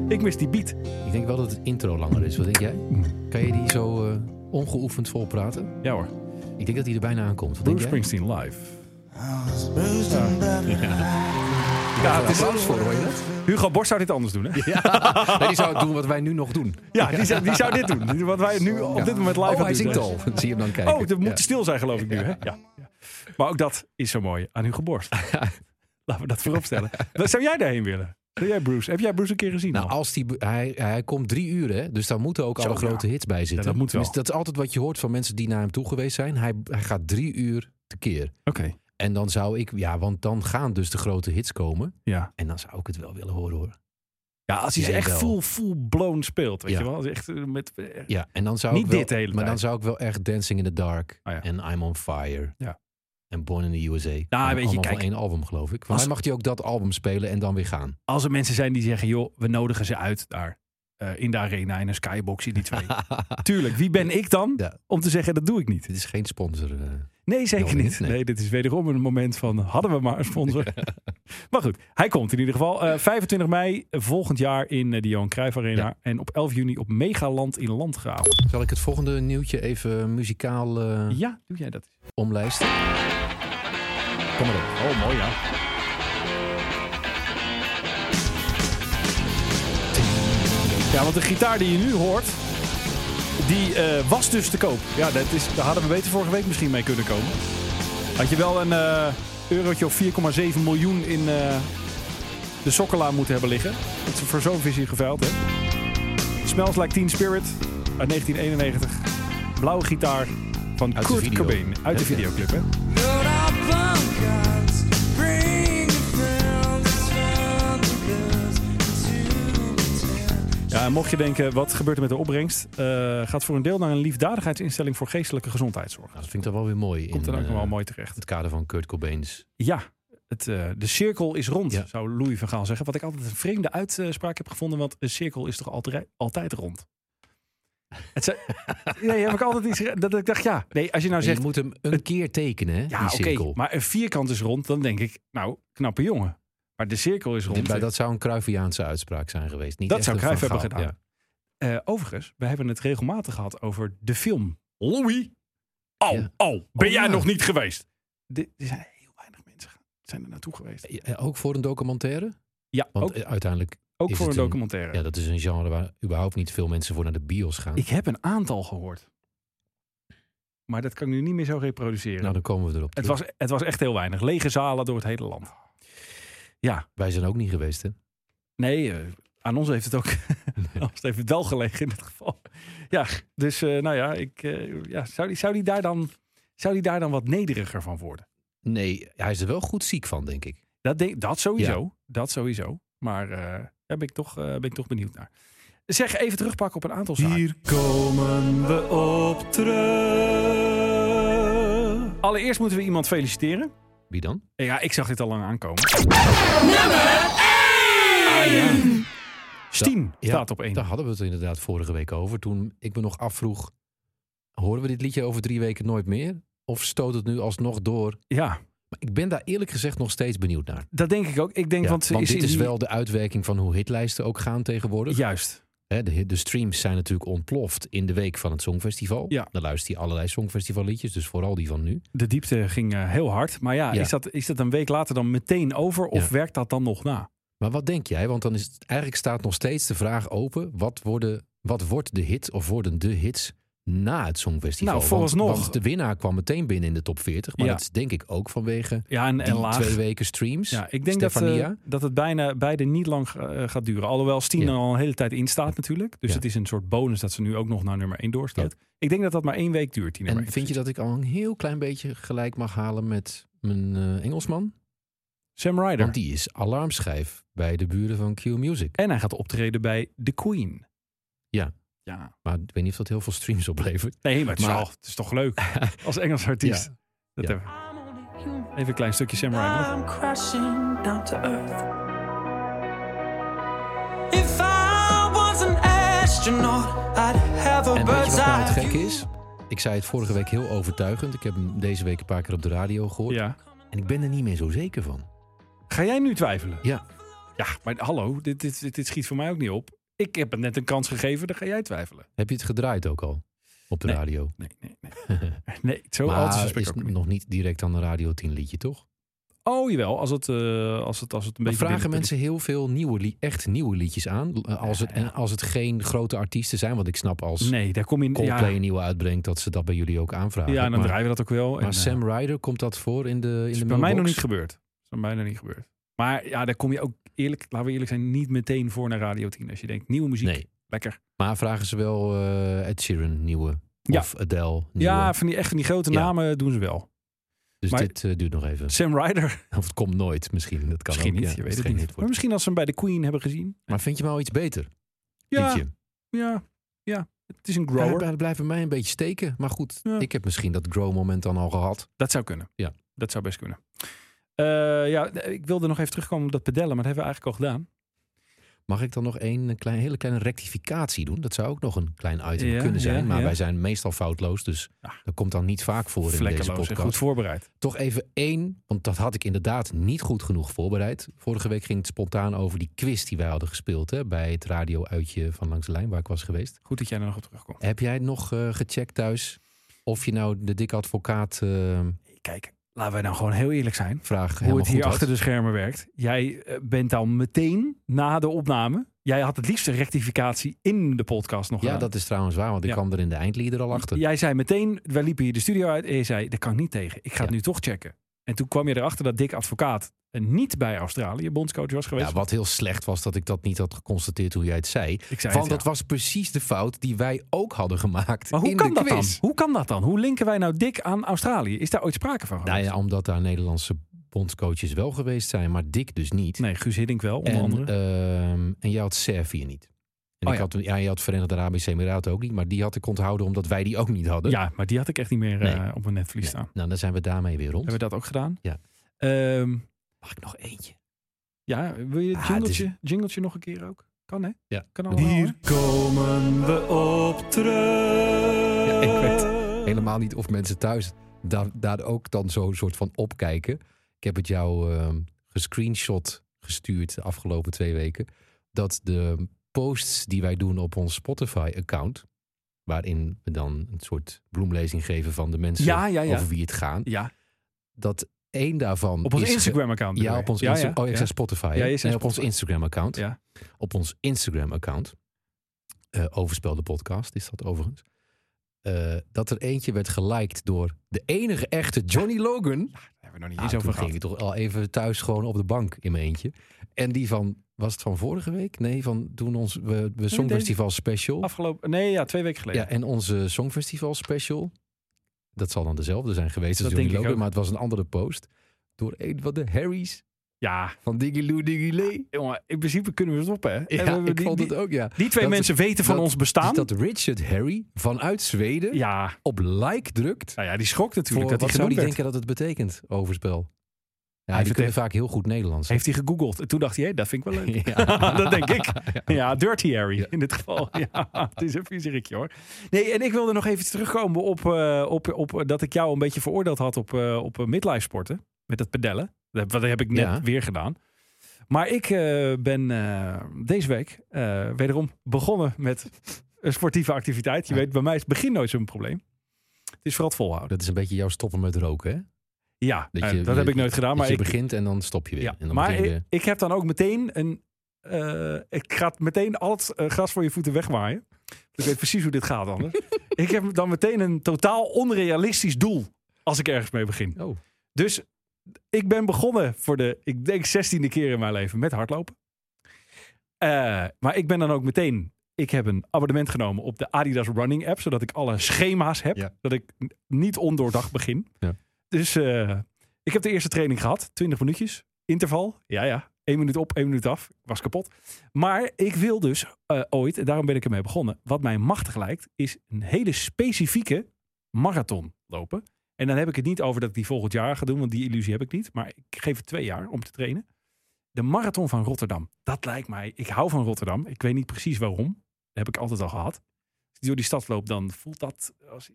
Ik mis die beat.
Ik denk wel dat het intro langer is. Wat denk jij?
Mm.
Kan je die zo eh, ongeoefend volpraten?
Ja hoor.
Ik denk dat hij er bijna aankomt. Wat denk
Bruce
jij?
Springsteen live. Ja, het is
Applaus voor, hoor je dat?
Hugo Borst zou dit anders doen, hè?
Nee, die zou het doen wat wij nu nog doen.
Ja, die zou, die zou dit doen. Die- Wat wij nu op dit moment live
oh,
aan
hij
het doen
zingt
zijn.
al. Zie je hem dan kijken.
Oh, dat moet
Ja.
stil zijn, geloof ik nu, hè? Ja. Ja. Maar ook dat is zo mooi aan Hugo Borst. Laten we dat vooropstellen. Zou jij daarheen willen? Wil jij Bruce? Heb jij Bruce een keer gezien?
Nou,
al?
als die, hij, hij komt drie uur, hè? dus daar moeten ook
Zo,
alle
ja.
grote hits bij zitten.
Ja, dat moet wel.
Tenminste, dat is altijd wat je hoort van mensen die naar hem toe geweest zijn. Hij, hij gaat drie uur tekeer.
Oké.
En dan zou ik, ja, want dan gaan dus de grote hits komen.
Ja.
En dan zou ik het wel willen horen hoor.
Ja, als hij ze
Jij
echt
wel.
full, full blown speelt, weet
Ja.
je wel. Als hij Echt eh, met, eh,
Ja, en dan zou
Niet
ik wel,
dit de hele
Maar dan
tijd.
zou ik wel echt Dancing in the Dark
Oh ja.
en I'm on Fire
Ja.
en Born in the USA. Nou,
weet je, kijk.
één album geloof ik. Maar
Als-
hij mag hij ook dat album spelen en dan weer gaan.
Als er mensen zijn die zeggen, joh, we nodigen ze uit daar. eh, in de arena, in een skybox, in die twee. Tuurlijk, wie ben ik dan
Ja.
om te zeggen, dat doe ik niet.
Dit is geen sponsor. eh.
Nee, zeker
Wel niet,
niet. Nee.
nee.
dit is wederom een moment van, hadden we maar een sponsor. maar goed, hij komt in ieder geval. eh, 25 mei volgend jaar in eh, de Johan Cruijff Arena.
Ja.
En op 11 juni op Megaland in Landgraaf.
Zal ik het volgende nieuwtje even muzikaal eh,
Ja, doe jij dat.
omlijsten? Kom maar op.
Oh, mooi ja. Ja, want de gitaar die je nu hoort, die eh, was dus te koop. Ja, dat is, daar hadden we beter vorige week misschien mee kunnen komen. Had je wel een eh eurotje of 4,7 miljoen in, eh, de sokkela moeten hebben liggen. Dat ze voor zo'n visie geveild heeft. Smells Like Teen Spirit uit 1991. Blauwe gitaar van
Uit de
Kurt
video.
Cobain. Uit de
Ja, ja.
videoclip, hè? Ja, en mocht je denken, wat gebeurt er met de opbrengst? Eh, gaat voor een deel naar een liefdadigheidsinstelling voor geestelijke gezondheidszorg.
Nou, dat vind ik dan wel weer mooi.
Komt er ook
in,
nog
eh,
wel mooi terecht.
het kader van Kurt Dus Cobain's.
Ja, het, eh, de cirkel is rond,
Ja.
zou Louis van Gaal zeggen. Wat ik altijd een vreemde uitspraak heb gevonden, want een cirkel is toch altijd, altijd rond? Het zei- nee, heb ik altijd iets... ge- Dat ik dacht, ja. Nee, als je nou
En
zegt,
je moet hem een keer tekenen, hè,
ja,
die
oké,
cirkel.
maar een vierkant is rond, dan denk ik, nou, knappe jongen. Maar de cirkel is
Dit-
rond.
maar dat zou een Cruyffiaanse uitspraak zijn geweest. Niet
Dat
echt
zou
een
Cruijff
Van
hebben
Gaal.
gedaan. Eh, overigens, we hebben het regelmatig gehad over de film Louis. Oh,
Ja.
oh, ben
Oh,
jij
ja.
nog niet geweest? De- er zijn heel weinig mensen gaan- zijn er naartoe geweest.
Ja. Ja, ook voor een documentaire?
Ja,
Eh, Want
ook,
eh, uiteindelijk,
ook
is
voor een
het een-
documentaire.
ja, dat is een genre waar überhaupt niet veel mensen voor naar de bios gaan.
Ik heb een aantal gehoord. Maar dat kan ik nu niet meer zo reproduceren.
Nou, dan komen we erop
het,
terug.
was, het was echt heel weinig. Lege zalen door het hele land. Ja,
Wij zijn ook niet geweest, hè?
nee, eh, aan ons heeft het ook aan ons heeft het wel gelegen in dit geval. Ja, dus eh, nou ja, ik, eh, ja zou, die, zou, die daar dan, zou die daar dan wat nederiger van worden?
Nee, hij is er wel goed ziek van, denk ik.
Dat, denk, dat sowieso, dat sowieso. Maar eh, daar ben ik, toch, eh, ben ik toch benieuwd naar. Zeg, even terugpakken op een aantal zaken.
Hier komen we op terug.
Allereerst moeten we iemand feliciteren.
Wie dan?
Ja, ik zag dit al lang aankomen. Nummer 1! Stien
Ja,
staat op 1.
Daar hadden we het inderdaad vorige week over. Toen ik me nog afvroeg, horen we dit liedje over drie weken nooit meer? Of stoot het nu alsnog door?
Ja,
Maar ik ben daar eerlijk gezegd nog steeds benieuwd naar.
dat denk ik ook. Ik denk,
Ja,
want,
want
ze is
dit
in
is
die-
wel de uitwerking van hoe hitlijsten ook gaan tegenwoordig.
Juist.
Hè, de, hit- de streams zijn natuurlijk ontploft in de week van het Songfestival.
Ja.
Dan luister je allerlei Songfestivalliedjes, dus vooral die van nu.
De diepte ging eh, heel hard. Maar ja,
Ja.
Is, dat, is dat een week later dan meteen over? Of
Ja.
werkt dat dan nog na?
Maar wat denk jij? Want dan is het, eigenlijk staat nog steeds de vraag open: wat, worden, wat wordt de hit of worden de hits na het Songfestival?
Nou,
want,
vooralsnog-
want de winnaar kwam meteen binnen in de top 40. Maar
Ja.
dat is denk ik ook vanwege
Ja, en, en
die
laag.
twee weken streams.
Ja, ik denk dat, eh,
Stefania?
dat het bijna beide niet lang eh, gaat duren. Alhoewel Stien
Ja.
er al een hele tijd in staat natuurlijk. Dus
Ja.
het is een soort bonus dat ze nu ook nog naar nummer 1 doorstaat. Ik denk dat dat maar één week duurt, die nummer
en
één
vind je dat ik al een heel klein beetje gelijk mag halen met mijn eh, Engelsman?
Sam Ryder.
Want die is alarmschijf bij de buren van Q Music.
En hij gaat optreden bij The Queen.
Ja.
Ja.
Maar ik weet niet of dat heel veel streams oplevert.
Nee, maar het,
Maar-
Is, wel- het is toch leuk als Engels artiest.
Ja.
Dat
Ja.
hebben we. Even een klein stukje Sam Ryder.
I'm crashing down to earth. If I was an astronaut, I'd have a
En weet je
bird's
wat nou het
eye
gek
view.
is? Ik zei het vorige week heel overtuigend. Ik heb hem deze week een paar keer op de radio gehoord.
Ja.
En ik ben er niet meer zo zeker van.
Ga jij nu twijfelen?
Ja,
Ja, maar hallo, dit, dit, dit, dit schiet voor mij ook niet op. Ik heb het net een kans gegeven, dan ga jij twijfelen.
heb je het gedraaid ook al op de
Nee.
radio?
Nee, nee, nee. nee zo
maar
altijd
is
is ook niet.
nog niet direct aan de Radio 10 liedje, toch?
Oh, jewel, als het, eh, als het, als het een
Maar
beetje...
vragen
binnen-
mensen heel veel nieuwe, li- echt nieuwe liedjes aan? Eh, Als het, en als het geen grote artiesten zijn, want ik snap als
Nee, daar kom je...
Coldplay
Ja,
een nieuwe uitbrengt... dat ze dat bij jullie ook aanvragen.
ja, en dan
maar,
draaien we dat ook wel. en,
maar
eh,
Sam Ryder, komt dat voor in de, in
is
de
bij mij nog
mailbox?
niet gebeurd. Is bij mij nog niet gebeurd. Maar ja, daar kom je ook eerlijk, laten we eerlijk zijn, niet meteen voor naar Radio 10. Als je denkt, nieuwe muziek,
Nee.
lekker.
Maar vragen ze wel eh Ed Sheeran nieuwe?
Ja.
Of Adele nieuwe?
Ja, van die, echt van die grote
Ja.
namen doen ze wel.
dus
maar-
dit eh, duurt nog even.
Sam Ryder.
Of het komt nooit misschien. Dat kan
misschien
ook,
niet,
ja.
je weet
Het
het
geen
niet.
hit
Maar
wordt.
misschien als ze hem bij de Queen hebben gezien.
Maar vind je hem al iets beter?
Ja,
liedje?
ja, ja. Het is een
Hij,
grower.
hij blijft bij mij een beetje steken. Maar goed,
Ja.
ik heb misschien dat grow-moment dan al gehad.
Dat zou kunnen.
Ja.
Dat zou best kunnen. Eh, ja, ik wilde nog even terugkomen op dat pedellen, maar dat hebben we eigenlijk al gedaan.
Mag ik dan nog een klein, hele kleine rectificatie doen? Dat zou ook nog een klein item
Ja,
kunnen zijn.
ja,
maar
ja.
wij zijn meestal foutloos. Dus
Ja.
dat komt dan niet vaak voor in deze
Vlekkeloos en
podcast.
goed voorbereid.
Toch even één, want dat had ik inderdaad niet goed genoeg voorbereid. Vorige week ging het spontaan over die quiz die wij hadden gespeeld hè, bij het radio-uitje van Langs de Lijn, waar ik was geweest.
Goed dat jij er nog op terugkomt.
Heb jij nog eh, gecheckt thuis of je nou de dikke advocaat eh,
Kijk, laten wij nou gewoon heel eerlijk zijn.
vraag helemaal
Hoe het
goed
hier
had?
achter de schermen werkt. Jij eh, bent dan meteen na de opname. Jij had het liefst een rectificatie in de podcast nog
Ja,
aan.
dat is trouwens waar, want ik
Ja.
kwam er in de eindlieder al achter.
Jij zei meteen, wij liepen hier de studio uit en je zei, dat kan ik niet tegen. Ik ga het nu toch checken. En toen kwam je erachter dat Dick Advocaat eh, niet bij Australië bondscoach was geweest.
Ja, wat heel slecht was dat ik dat niet had geconstateerd toen jij het zei.
Ik zei
Want
het, ja.
dat was precies de fout die wij ook hadden gemaakt.
Maar hoe
in
kan
de
dat dan?
quiz.
Hoe kan dat dan? Hoe linken wij nou dik aan Australië? Is daar ooit sprake van
Nou
geweest?
ja, omdat daar Nederlandse bondscoaches wel geweest zijn, maar Dick dus niet.
Nee, Guus Hiddink wel, onder
en,
andere.
ehm, en jij had Servië niet. En
Oh
ik
ja.
had, ja, je had Verenigde Arabische Emiraten ook niet, maar die had ik onthouden omdat wij die ook niet hadden.
ja, maar die had ik echt niet meer
Nee.
eh, op mijn netvlies staan.
Nou, dan zijn we daarmee weer rond.
Hebben we dat ook gedaan?
Ja.
Ehm,
Mag ik nog eentje?
ja, wil je het
Ah, het is-
jingletje, jingletje nog een keer ook? Kan hè?
Ja.
Kan
Doe
allemaal. hè?
Hier komen we op terug.
Ja, ik weet helemaal niet of mensen thuis daar, daar ook dan zo'n soort van opkijken. Ik heb het jou ehm gescreenshot gestuurd de afgelopen twee weken. Dat de posts die wij doen op ons Spotify-account, waarin we dan een soort bloemlezing geven van de mensen
Ja, ja, ja.
over wie het gaat,
Ja,
dat één daarvan.
op ons
is ge-
Instagram-account.
Ja, op ons Insta- Oh, ik
ja.
zei Spotify. hè?
Ja, je zei
nee, op ons
Spotify.
Instagram-account.
Ja.
Op ons Instagram-account. eh, Overspel de podcast is dat overigens. Eh, dat er eentje werd geliked door de enige echte Johnny Logan.
Daar hebben we nog niet
Ah,
eens
toen
over
ging
gehad.
ik toch al even thuis gewoon op de bank in mijn eentje. En die van, was het van vorige week? Nee, van toen ons we, we Songfestival Special.
Afgelopen, nee, Oh, ja, twee weken geleden.
Ja, en onze Songfestival Special. Dat zal dan dezelfde zijn geweest als
Dat
Johnny
denk ik
Logan,
ook.
maar het was een andere post. Door een van de Harry's
Ja,
van Diggy Lou Diggy Lee.
jongen, in principe kunnen we het op, hè?
Ja,
Hebben we
ik
die,
vond
die-
het ook, ja.
Die twee
dat-
mensen weten van
dat-
ons bestaan.
Dat Richard Harry vanuit Zweden
ja,
op like drukt.
nou ja, die schokt
Voor,
natuurlijk
wat
dat hij genoemd
zou die
werd.
denken dat het betekent, overspel? Ja,
Hij
die kunnen
vertelt-
vaak heel goed Nederlands.
Heeft hij gegoogeld. En toen dacht hij, hé, dat vind ik wel leuk.
Ja.
dat denk ik. Ja, Dirty Harry in dit geval. Ja, het is een vieserikje hoor. Nee, en ik wilde nog even terugkomen op, eh, op, op eh, dat ik jou een beetje veroordeeld had op, eh, op eh, midlife sporten. Met dat pedellen. Dat heb, dat heb ik net
Ja.
weer gedaan. Maar ik eh, ben eh, deze week eh, wederom begonnen met een sportieve activiteit. Je weet, bij mij is het begin nooit zo'n probleem. Het is vooral het volhouden.
Dat is een beetje jouw stoppen met roken, hè?
Ja, eh,
Dat,
dat,
je-
heb ik nooit gedaan.
dat
Maar
je
ik,
begint en dan stop je weer.
ja,
en dan
maar
begin je weer.
ik, ik heb dan ook meteen een. eh, ik ga het meteen al het eh, gras voor je voeten wegwaaien. Ik weet precies hoe dit gaat anders. ik heb dan meteen een totaal onrealistisch doel als ik ergens mee begin.
Oh.
Dus ik ben begonnen voor de, ik denk, 16e keer in mijn leven met hardlopen. Eh, maar ik ben dan ook meteen. Ik heb een abonnement genomen op de Adidas Running app, zodat ik alle schema's heb.
Ja.
Dat ik n- niet ondoordacht begin.
Ja.
Dus eh, ik heb de eerste training gehad, 20 minuutjes. Interval, ja, ja. Eén minuut op, één minuut af. Ik was kapot. Maar ik wil dus eh, ooit, en daarom ben ik ermee begonnen. Wat mij machtig lijkt, is een hele specifieke marathon lopen. En dan heb ik het niet over dat ik die volgend jaar ga doen, want die illusie heb ik niet. Maar ik geef het twee jaar om te trainen. De marathon van Rotterdam. Dat lijkt mij. Ik hou van Rotterdam. Ik weet niet precies waarom. Dat heb ik altijd al gehad. Als ik door die stad loop, dan voelt dat. Als,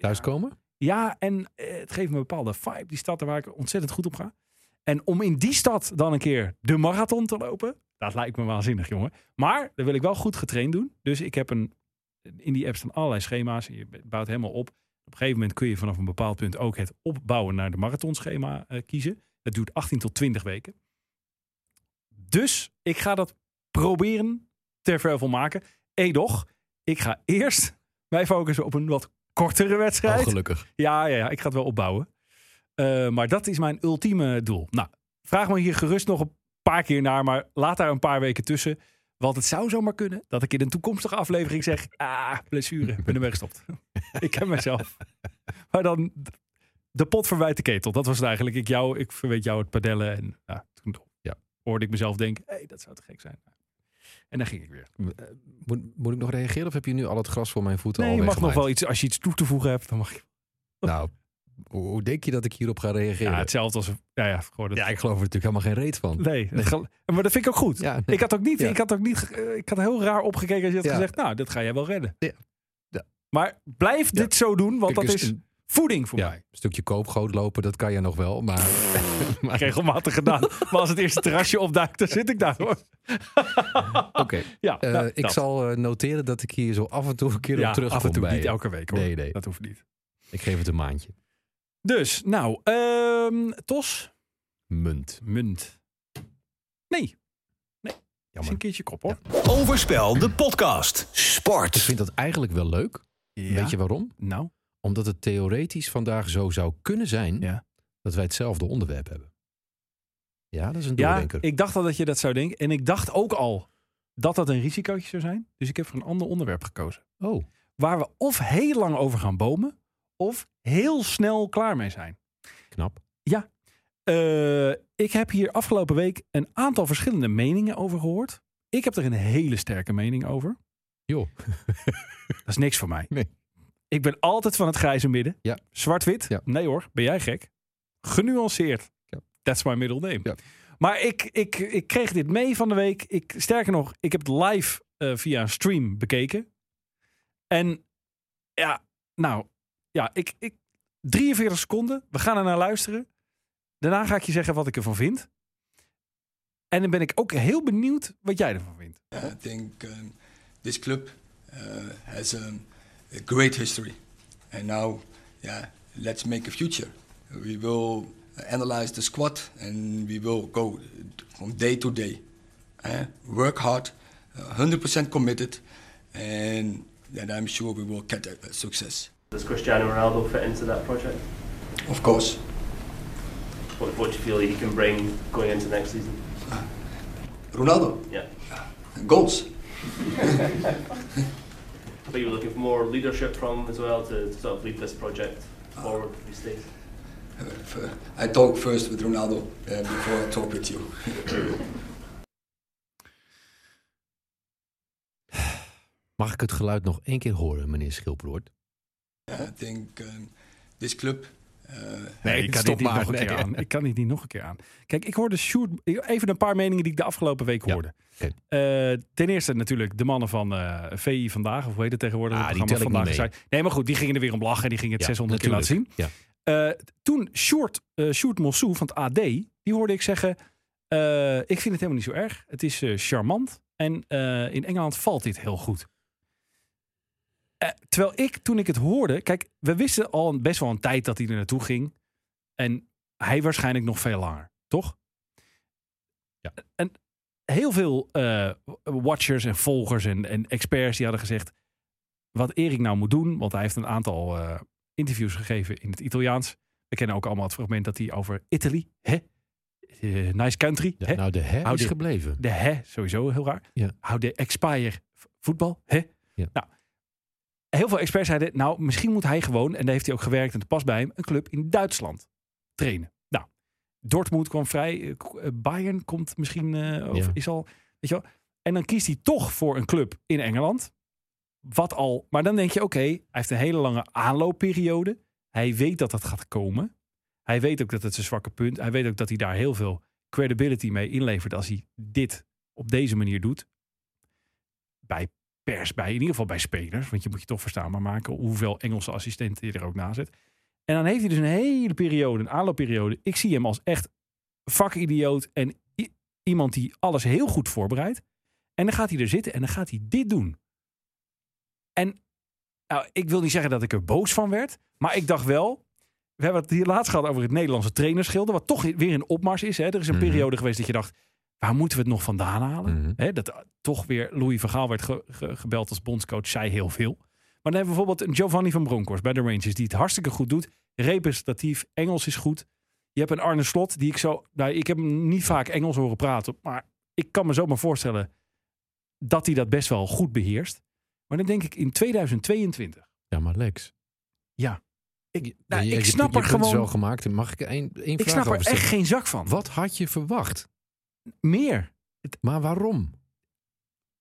Thuiskomen? Oh,
ja, en eh, het geeft me een bepaalde vibe, die stad waar ik ontzettend goed op ga. En om in die stad dan een keer de marathon te lopen, dat lijkt me waanzinnig, jongen. Maar dat wil ik wel goed getraind doen. Dus ik heb een, in die app staan allerlei schema's. Je bouwt helemaal op. Op een gegeven moment kun je vanaf een bepaald punt ook het opbouwen naar de marathonschema eh, kiezen. Dat duurt 18 tot 20 weken. Dus ik ga dat proberen ter vervolmaken. Edoch, ik ga eerst mij focussen op een wat kortere
Oh,
wedstrijd.
gelukkig.
Ja, ja, ja, ik ga het wel opbouwen. Eh, maar dat is mijn ultieme doel. Nou, vraag me hier gerust nog een paar keer naar, maar laat daar een paar weken tussen. Want het zou zomaar kunnen dat ik in een toekomstige aflevering zeg: Ah, blessure, ik ben ermee gestopt. ik ken mezelf. Maar dan de pot verwijt de ketel. Dat was het eigenlijk. Ik, jou, ik verweet jou het padellen. En ja, toen
Ja.
hoorde ik mezelf denken: Hé, hey, dat zou te gek zijn. En dan ging ik weer.
Moet, moet ik nog reageren of heb je nu al het gras voor mijn voeten
Nee,
al
je mag nog
weggemaaid?
wel iets, als je iets toe te voegen hebt, dan mag je.
Nou, hoe hoe denk je dat ik hierop ga reageren?
Ja,
Ja,
hetzelfde als. Ja, ja, gewoon het-
ik geloof er natuurlijk helemaal geen reet van.
Nee, het gel- maar dat vind ik ook goed.
Ja,
Ik had ook niet,
Ja.
ik had ook niet, ge- eh, ik had heel raar opgekeken als je had
Ja.
gezegd, nou, dat ga jij wel redden.
Ja. Ja.
Maar blijf
Ja.
dit zo doen, want
Kijk,
dat
dus
is
een-
voeding voor
ja,
mij.
een stukje koopgoot lopen, dat kan je nog wel. Maar, maar
Regelmatig gedaan. Maar als het eerste terrasje opduikt, dan zit ik daar hoor.
oké.
Ja,
Eh,
nou,
ik
dat.
zal eh, noteren dat ik hier zo af en toe een keer
ja,
op terugkom.
af en toe,
bij
niet
je.
elke week hoor.
Nee, nee.
Dat hoeft niet.
Ik geef het een maandje.
Dus, nou, ehm, Tos,
Munt.
munt. Nee, is een
Jammer.
keertje kop hoor.
Overspel, de podcast.
Ik
Sport.
vind dat eigenlijk wel leuk. Weet je waarom?
Nou,
Omdat het theoretisch vandaag zo zou kunnen zijn
Ja.
dat wij hetzelfde onderwerp hebben. Ja, dat is een
Ja,
doordenker.
ik dacht al dat je dat zou denken. En ik dacht ook al dat dat een risicootje zou zijn. Dus ik heb voor een ander onderwerp gekozen.
Oh,
Waar we of heel lang over gaan bomen, of heel snel klaar mee zijn.
knap.
Eh, ik heb hier afgelopen week een aantal verschillende meningen over gehoord. Ik heb er een hele sterke mening over.
Joh.
Dat is niks voor mij.
Nee.
Ik ben altijd van het grijze midden.
Ja.
Zwart-wit.
Ja.
Nee hoor, ben jij gek? Genuanceerd.
Ja.
That's my middle name.
Ja.
Maar ik, ik, ik kreeg dit mee van de week. Ik, sterker nog, ik heb het live eh, via een stream bekeken. En ja, nou, ja, ik, ik, 43 seconden. We gaan er naar luisteren. Daarna ga ik je zeggen wat ik ervan vind. En dan ben ik ook heel benieuwd wat jij ervan vindt.
I think um, this club uh, has um, a great history, and now, yeah, let's make a future. We will uh, analyze the squad, and we will go from day to day. eh? Work hard, uh, 100% committed, and then I'm sure we will get a, a success.
Does Cristiano Ronaldo fit into that project?
Of course,
What, what do you feel he can bring going into next season?
Ronaldo,
Yeah.
goals.
But you were looking for more leadership from as well to, to sort of lead this project forward these days.
Uh, f- I talk first with Ronaldo uh, before I talk with you.
Mag ik het geluid nog één keer horen, meneer Schilbroord?
I think um, this club uh,
Nee,
Nee,
ik kan
stop
dit niet
maar.
nog een keer
Nee.
aan. Ik kan dit niet nog een keer aan. Kijk, ik hoorde Sjoerd... Even een paar meningen die ik de afgelopen week
Ja,
hoorde.
oké.
Eh, ten eerste natuurlijk de mannen van eh, VI Vandaag. Of hoe heet het tegenwoordig?
Ah,
het
die
programma
tel ik niet
vandaag. Zei- Nee, maar goed. Die gingen er weer om lachen. En die gingen het
Ja,
600 keer laten zien.
natuurlijk. Ja.
Eh, toen Sjoerd, eh Sjoerd Mossou van het AD... Die hoorde ik zeggen... eh, ik vind het helemaal niet zo erg. Het is eh, charmant. En eh, in Engeland valt dit heel goed. Eh, terwijl ik, toen ik het hoorde... Kijk, we wisten al een- best wel een tijd dat hij er naartoe ging. En hij waarschijnlijk nog veel langer, toch?
Ja.
En heel veel eh, watchers en volgers en, en experts die hadden gezegd... wat Erik nou moet doen, want hij heeft een aantal eh, interviews gegeven in het Italiaans. We kennen ook allemaal het fragment dat hij over Italy... Hè? Eh, nice country,
Ja,
hè?
nou, de her
Hou
is
dit.
gebleven.
De hè, sowieso heel raar.
Ja.
Hou de expire voetbal, hè?
Ja.
Nou, heel veel experts zeiden, nou, misschien moet hij gewoon, en daar heeft hij ook gewerkt en het past bij hem, een club in Duitsland trainen. Nou, Dortmund kwam vrij, eh, k- eh, Bayern komt misschien, eh, of
Ja.
is al, weet je wel. En dan kiest hij toch voor een club in Engeland. Wat al, maar dan denk je, oké, hij heeft een hele lange aanloopperiode. Hij weet dat dat gaat komen. Hij weet ook dat het zijn zwakke punt. Hij weet ook dat hij daar heel veel credibility mee inlevert als hij dit op deze manier doet. Bij pers, bij in ieder geval bij spelers. Want je moet je toch verstaanbaar maken hoeveel Engelse assistenten je er ook na zet. En dan heeft hij dus een hele periode, een aanloopperiode. Ik zie hem als echt vakidioot en i- iemand die alles heel goed voorbereidt. En dan gaat hij er zitten en dan gaat hij dit doen. En nou, ik wil niet zeggen dat ik er boos van werd. Maar ik dacht wel, we hebben het hier laatst gehad over het Nederlandse trainerschilder. Wat toch weer een opmars is. Hè? Er is een
Mhm.
periode geweest dat je dacht, waar moeten we het nog vandaan halen?
Mhm.
Hè, dat eh, toch weer Louis van Gaal werd ge- ge- gebeld als bondscoach, zei heel veel. Maar dan hebben we bijvoorbeeld een Giovanni van Bronckhorst bij de Rangers, die het hartstikke goed doet. Representatief, Engels is goed. Je hebt een Arne Slot, die ik zo... Nou, ik heb hem niet vaak Engels horen praten, maar ik kan me zomaar voorstellen dat hij dat best wel goed beheerst. Maar dan denk ik in 2022.
Ja, maar Lex.
Ik, nou,
Ja, je-
ik
je-
snap
je
er
punt is wel
gewoon...
gemaakt. Mag ik één één
Ik
vraag
snap er
over
echt
stellen?
geen zak van.
Wat had je verwacht?
Meer.
Maar waarom?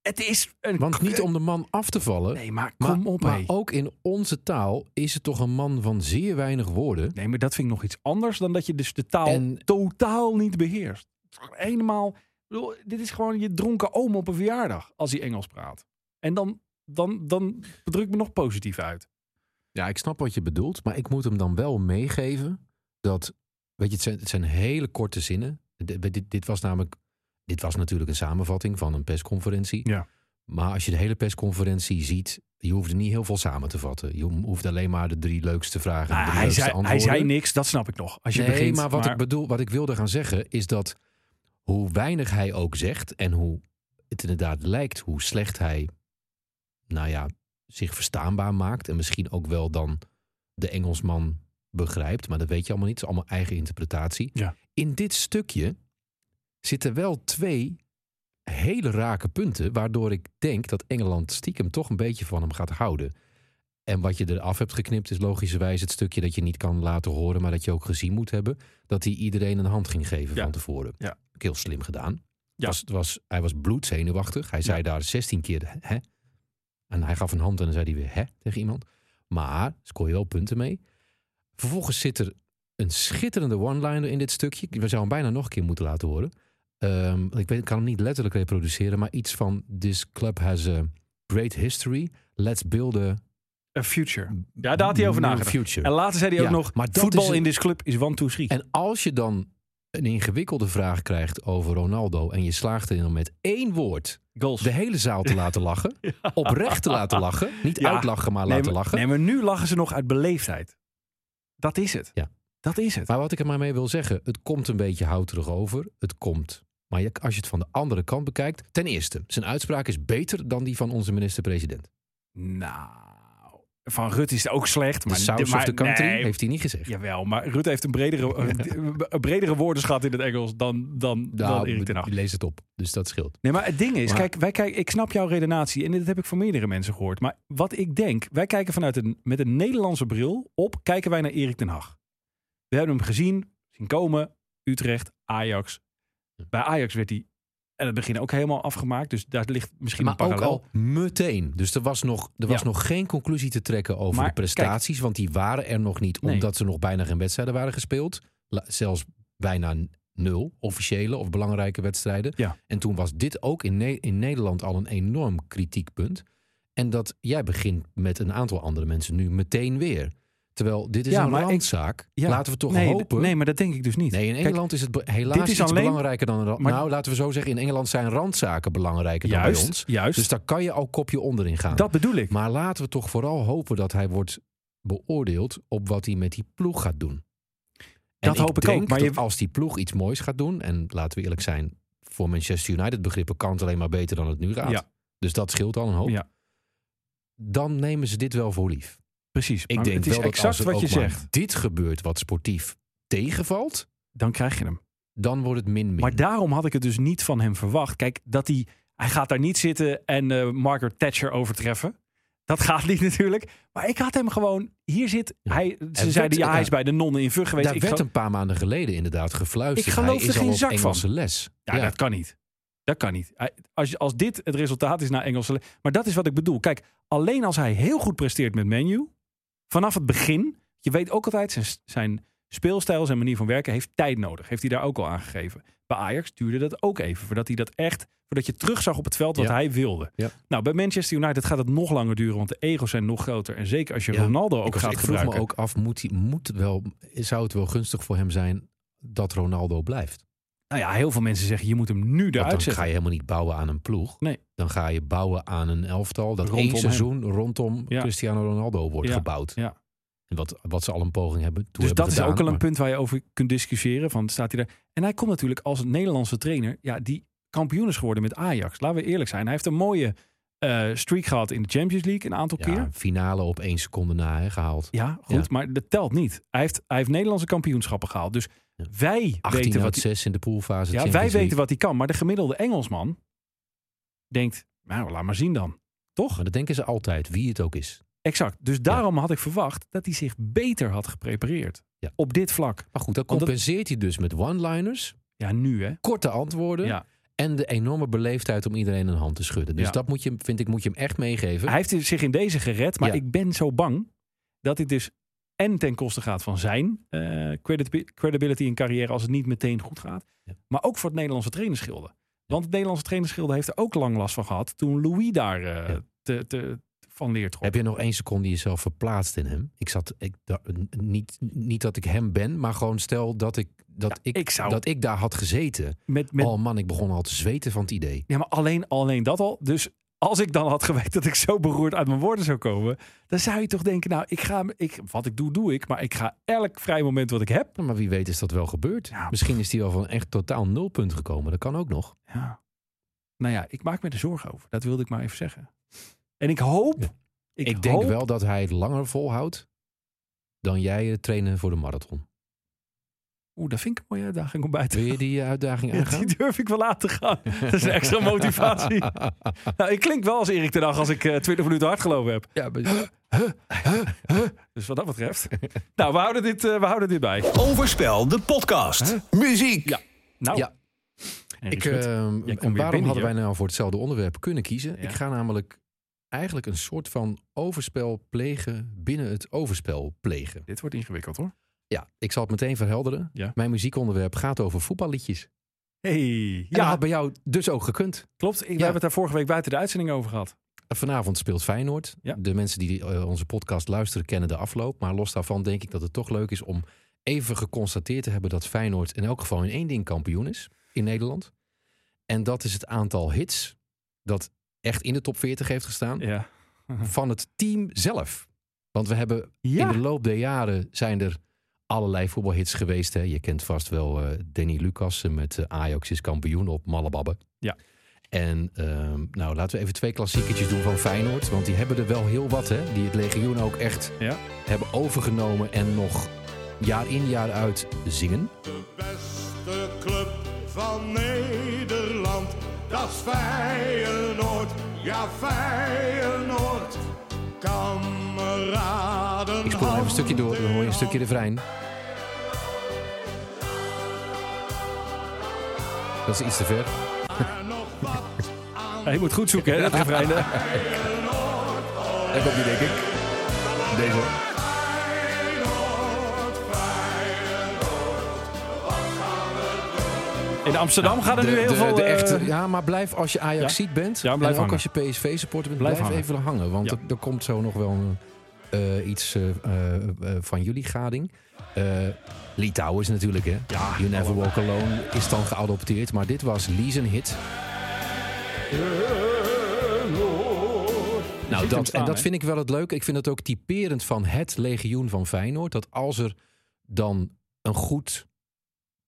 Het is een...
Want niet om de man af te vallen.
eh- Nee, maar
maar,
kom op,
maar
hé.
ook in onze taal is het toch een man van zeer weinig woorden.
Nee, maar dat vind ik nog iets anders dan dat je dus de taal
En-
totaal niet beheerst. Helemaal. ik bedoel, Dit is gewoon je dronken oom op een verjaardag als hij Engels praat. En dan, dan, dan druk ik me nog positief uit.
Ja, ik snap wat je bedoelt, maar ik moet hem dan wel meegeven dat, weet je, het zijn, het zijn hele korte zinnen. Dit, dit, dit was namelijk, dit was natuurlijk een samenvatting van een persconferentie.
Ja.
Maar als je de hele persconferentie ziet, je hoeft er niet heel veel samen te vatten. Je hoeft alleen maar de drie leukste vragen. en de
Ah,
drie
hij,
leukste
zei, hij
antwoorden.
zei niks, dat snap ik nog. Als je
nee,
begint,
maar wat ik bedoel, wat ik wilde gaan zeggen is dat hoe weinig hij ook zegt en hoe het inderdaad lijkt hoe slecht hij, nou ja, zich verstaanbaar maakt en misschien ook wel dan de Engelsman begrijpt, maar dat weet je allemaal niet, het is allemaal eigen interpretatie.
Ja.
In dit stukje zitten wel twee hele rake punten. Waardoor ik denk dat Engeland stiekem toch een beetje van hem gaat houden. En wat je eraf hebt geknipt is logischerwijs het stukje dat je niet kan laten horen. Maar dat je ook gezien moet hebben. Dat hij iedereen een hand ging geven
Ja.
van tevoren.
Ja.
Ook Heel slim gedaan.
Ja.
Was, het was, hij was bloedzenuwachtig. Hij zei daar 16 keer hè. En hij gaf een hand en dan zei hij weer hè tegen iemand. Maar scoor je wel punten mee. Vervolgens zit er een schitterende one-liner in dit stukje. We zouden hem bijna nog een keer moeten laten horen. Ehm, ik weet, ik kan hem niet letterlijk reproduceren, maar iets van this club has a great history. Let's build a
A future. Ja, Ah, daar had hij over
new
nagedacht.
future.
En later zei hij ook
Ja,
nog,
maar dat
voetbal
is een-
in this club is one, two, three.
En als je dan een ingewikkelde vraag krijgt over Ronaldo en je slaagt erin om met één woord
Goals.
de hele zaal te laten lachen, oprecht te laten lachen, niet
Ja.
uitlachen maar
nee,
laten
maar,
lachen.
nee, maar nu lachen ze nog uit beleefdheid. Dat is het.
Ja.
Dat is het.
Maar wat ik er maar mee wil zeggen, het komt een beetje houterig over. Het komt. Maar je- als je het van de andere kant bekijkt, ten eerste, zijn uitspraak is beter dan die van onze minister-president.
Nou, Van Rut is ook slecht.
De
Maar,
saus
maar,
of the country
nee,
heeft hij niet gezegd.
Jawel, maar Rutte heeft een bredere, een bredere woordenschat in het Engels dan, dan, dan Erik ten Hag.
Nou, lees het op, dus dat scheelt.
Nee, maar het ding is,
Maar-
kijk, wij kijken, ik snap jouw redenatie en dit heb ik van meerdere mensen gehoord. Maar wat ik denk, wij kijken vanuit een, met een Nederlandse bril op, kijken wij naar Erik ten Hag. We hebben hem gezien, zien komen, Utrecht, Ajax. Bij Ajax werd hij aan het begin ook helemaal afgemaakt, dus daar ligt misschien
Maar
een
ook
parallel.
al meteen. Dus er was nog, er was
Ja.
nog geen conclusie te trekken over
Maar
de prestaties, want die waren er nog niet,
Nee.
omdat ze nog bijna geen wedstrijden waren gespeeld. La- zelfs bijna n- nul officiële of belangrijke wedstrijden.
Ja.
En toen was dit ook in, Ne- in Nederland al een enorm kritiekpunt. En dat jij begint met een aantal andere mensen nu meteen weer. Terwijl dit is
Ja,
een
maar ik-
randzaak.
Ja.
Laten we toch
nee, d-
hopen.
Nee, maar dat denk ik dus niet.
Nee, in
Kijk,
Engeland is het be- helaas
dit is
iets
alleen-
belangrijker dan... een ra-
maar-
nou, laten we zo zeggen, in Engeland zijn randzaken belangrijker dan bij
juist,
ons.
juist.
Dus daar kan je al kopje onderin gaan.
dat bedoel ik.
Maar laten we toch vooral hopen dat hij wordt beoordeeld op wat hij met die ploeg gaat doen. En
Dat hoop ik
denk
ook, maar
dat
je-
als die ploeg iets moois gaat doen, en laten we eerlijk zijn, voor Manchester United begrippen kan het alleen maar beter dan het nu gaat.
Ja.
Dus dat scheelt al een hoop.
Ja.
Dan nemen ze dit wel voor lief.
Precies.
Ik
Maar
denk
het is
wel dat
exact
als er
wat
ook
je
maar
zegt.
dit gebeurt wat sportief tegenvalt,
Dan krijg je hem.
dan wordt het min-min.
Maar daarom had ik het dus niet van hem verwacht. Kijk, dat hij, hij gaat daar niet zitten en eh, Margaret Thatcher overtreffen. Dat gaat niet natuurlijk. Maar ik had hem gewoon, hier zit
Ja.
hij. Ze
werd-
zeiden, ja, hij is
ja.
bij de nonnen in Vug geweest.
Daar
Ik
werd
geloof-
een paar maanden geleden inderdaad gefluisterd.
Ik geloof
Hij
er
is al
geen
op
zak van.
Engelse les.
ja, dat kan niet. Dat kan niet. Hij- Als, als dit het resultaat is naar Engelse... le- Maar dat is wat ik bedoel. Kijk, alleen als hij heel goed presteert met menu... vanaf het begin... Je weet ook altijd, zijn, zijn speelstijl, zijn manier van werken... heeft tijd nodig. Heeft hij daar ook al aangegeven. Bij Ajax duurde dat ook even. Voordat hij dat echt... Voordat je terugzag op het veld wat
Ja.
hij wilde.
Ja.
Nou, bij Manchester United gaat het nog langer duren... want de ego's zijn nog groter. En zeker als je
Ja,
Ronaldo ook
ik, was-
gaat
ik vroeg
gebruiken.
me ook af, moet, hij- moet wel, zou het wel gunstig voor hem zijn dat Ronaldo blijft?
Nou ja, heel veel mensen zeggen... je moet hem nu
Want
eruit
dan
zetten.
ga je helemaal niet bouwen aan een ploeg.
Nee.
Dan ga je bouwen aan een elftal dat
Rondom
één
hem.
seizoen rondom
Ja.
Cristiano Ronaldo wordt
Ja,
gebouwd.
ja.
En wat, wat ze al een poging hebben toe
Dus
hebben
dat is
gedaan,
ook al een
maar-
punt waar je over kunt discussiëren. Van, staat hij daar? En hij komt natuurlijk als een Nederlandse trainer, ja, die kampioen is geworden met Ajax. Laten we eerlijk zijn. Hij heeft een mooie eh, streak gehad in de Champions League een aantal
Ja,
keer.
finale op één seconde na hè, gehaald.
Ja, goed, maar dat telt niet. Hij heeft, hij heeft Nederlandse kampioenschappen gehaald. Dus
Ja.
wij
18
weten wat
uit
hij,
6 in de poolfase.
ja,
Champions
wij
League.
weten wat hij kan. Maar de gemiddelde Engelsman denkt, nou, laat maar zien dan. Toch?
Maar dat denken ze altijd, wie het ook is.
Exact. Dus daarom had ik verwacht dat hij zich beter had geprepareerd.
Ja.
Op dit vlak.
Maar goed, dat
Want dat-
compenseert hij dus met one-liners,
Ja, nu hè.
korte antwoorden
Ja.
en de enorme beleefdheid om iedereen een hand te schudden. Dus
Ja.
dat moet je, vind ik, moet je hem echt meegeven.
Hij heeft zich in deze gered, maar
Ja.
ik ben zo bang dat dit dus en ten koste gaat van zijn eh, credit- credibility en carrière als het niet meteen goed gaat.
Ja.
Maar ook voor het Nederlandse trainerschilde. Want het Nederlandse trainerschilde heeft er ook lang last van gehad toen Louis daar eh,
Ja.
te, te, van leert.
Heb je nog één seconde jezelf verplaatst in hem? Ik zat, ik, da- n- niet, niet dat ik hem ben, maar gewoon stel dat ik, dat ik,
ik zou-
dat ik daar had gezeten.
Met, met,
Oh man, ik begon al te zweten van het idee.
Ja, maar alleen, alleen dat al. Dus als ik dan had geweten dat ik zo beroerd uit mijn woorden zou komen, dan zou je toch denken, nou, ik ga, ik, wat ik doe, doe ik. Maar ik ga elk vrij moment wat ik heb,
Nou, maar wie weet is dat wel gebeurd.
Ja,
Misschien is hij wel van echt totaal nulpunt gekomen. Dat kan ook nog.
Ja. Nou ja, ik maak me er zorgen over. Dat wilde ik maar even zeggen. En ik hoop.
Ja.
Ik,
Ik, denk
hoop-
wel dat eh, hij het langer volhoudt dan jij het trainen voor de marathon.
Oeh, dat vind ik een mooie uitdaging om bij te
Wil je die eh, uitdaging
Ja,
aangaan?
die durf ik wel aan te gaan. Dat is een extra motivatie. nou, ik klink wel als Erik de Dag als ik eh, 20 minuten hard gelopen heb.
Ja, maar-
Dus wat dat betreft. nou, we houden dit, eh, we houden dit bij.
Overspel, de podcast.
Muziek.
Ja. Nou,
Ja.
Henry
Ik,
Smit.
ehm, en
weer
waarom
binnen
hadden
hier.
wij nou voor hetzelfde onderwerp kunnen kiezen? Ik ga namelijk eigenlijk een soort van overspel plegen binnen het overspel plegen.
dit wordt ingewikkeld hoor.
Ja, ik zal het meteen verhelderen.
Ja.
Mijn muziekonderwerp gaat over voetballiedjes. En
Hey,
dat
ja,
had bij jou dus ook gekund.
klopt. Ik, We
Ja.
hebben het daar vorige week buiten de uitzending over gehad.
Vanavond speelt Feyenoord.
Ja.
De mensen die eh, onze podcast luisteren kennen de afloop. Maar los daarvan denk ik dat het toch leuk is om even geconstateerd te hebben dat Feyenoord in elk geval in één ding kampioen is in Nederland. En dat is het aantal hits dat echt in de top 40 heeft gestaan
Ja.
van het team zelf. Want we hebben in de loop der jaren zijn er allerlei voetbalhits geweest. Hè. Je kent vast wel eh Danny Lucas met eh, Ajax is kampioen op Mallebabbe.
Ja.
En ehm, nou, laten we even twee klassieketjes doen van Feyenoord. Want die hebben er wel heel wat, hè. Die het legioen ook echt
Ja.
hebben overgenomen en nog jaar in jaar uit zingen.
De beste club van Nederland, dat is Feyenoord, ja Feyenoord. Kameraden,
Ik speel nog even een stukje door, dan hoor je een stukje refrein. Dat is iets te ver.
en nog wat aan
Ja, je moet goed zoeken, hè? Dat refrein, hè.
Daar komt die, denk ik. Deze.
Feyenoord,
In Amsterdam gaan er nu heel
de,
veel...
de
eh,
echte, ja, maar blijf als je Ajax ziet bent.
Ja, blijf
en ook
hangen.
als je PSV-supporter bent,
Blijf
blijf, even hangen. Want
Ja.
er, er komt zo nog wel een, eh, iets eh, eh, eh, van jullie gading. Eh Litouwers natuurlijk, hè? you Never Walk Alone is dan geadopteerd. Maar dit was Lee's een hit. Nou,
ziet hem
dat,
staan,
en dat
hè?
vind ik wel het leuke. Ik vind het ook typerend van het legioen van Feyenoord. Dat als er dan een goed,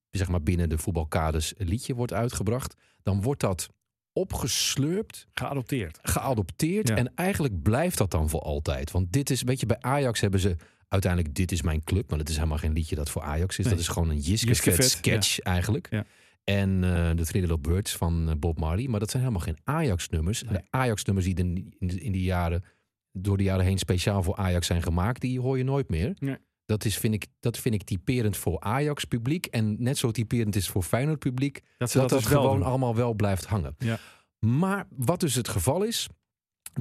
zeg maar binnen de voetbalkaders, liedje wordt uitgebracht. Dan wordt dat opgeslurpt,
Geadopteerd.
geadopteerd.
Ja.
En eigenlijk blijft dat dan voor altijd. Want dit is, weet je, bij Ajax hebben ze uiteindelijk Dit is mijn club. Maar dat is helemaal geen liedje dat voor Ajax is.
Nee.
Dat is gewoon een
Jiskevet,
Jiskevet sketch eigenlijk.
Ja.
En eh, de Thriller of Birds van eh, Bob Marley. Maar dat zijn helemaal geen Ajax-nummers. En De Ajax-nummers die in, in, de- in die jaren, door de jaren heen speciaal voor Ajax zijn gemaakt, die hoor je nooit meer.
Nee.
Dat, is, vind ik, dat vind ik typerend voor Ajax-publiek. En net zo typerend is voor Feyenoord-publiek
Dat ze
dat
dat,
dat
dus wel
gewoon
doen.
allemaal wel blijft hangen.
Ja.
Maar wat dus het geval is,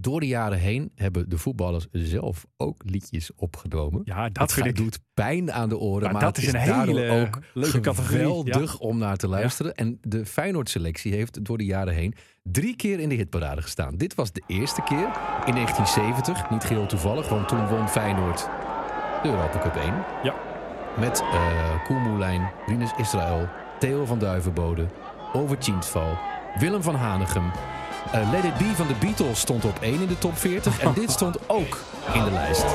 door de jaren heen hebben de voetballers zelf ook liedjes opgenomen.
Ja, dat,
Het
vind
ga-
ik...
doet pijn aan de oren, maar,
Maar dat
het
is een
daardoor
hele
ook
leuke categorie. Ja.
geweldig om naar te luisteren. En de Feyenoord-selectie heeft door de jaren heen drie keer in de hitparade gestaan. Dit was de eerste keer in 1970, niet geheel toevallig, want toen won Feyenoord de Europa Cup 1.
Ja.
Met eh Koen Moulijn, Rinus Israël, Theo van Duivenbode, Over Tjintval, Willem van Hanegem. Eh Let It Be van de Beatles stond op 1 in de top 40 en dit stond ook in de lijst.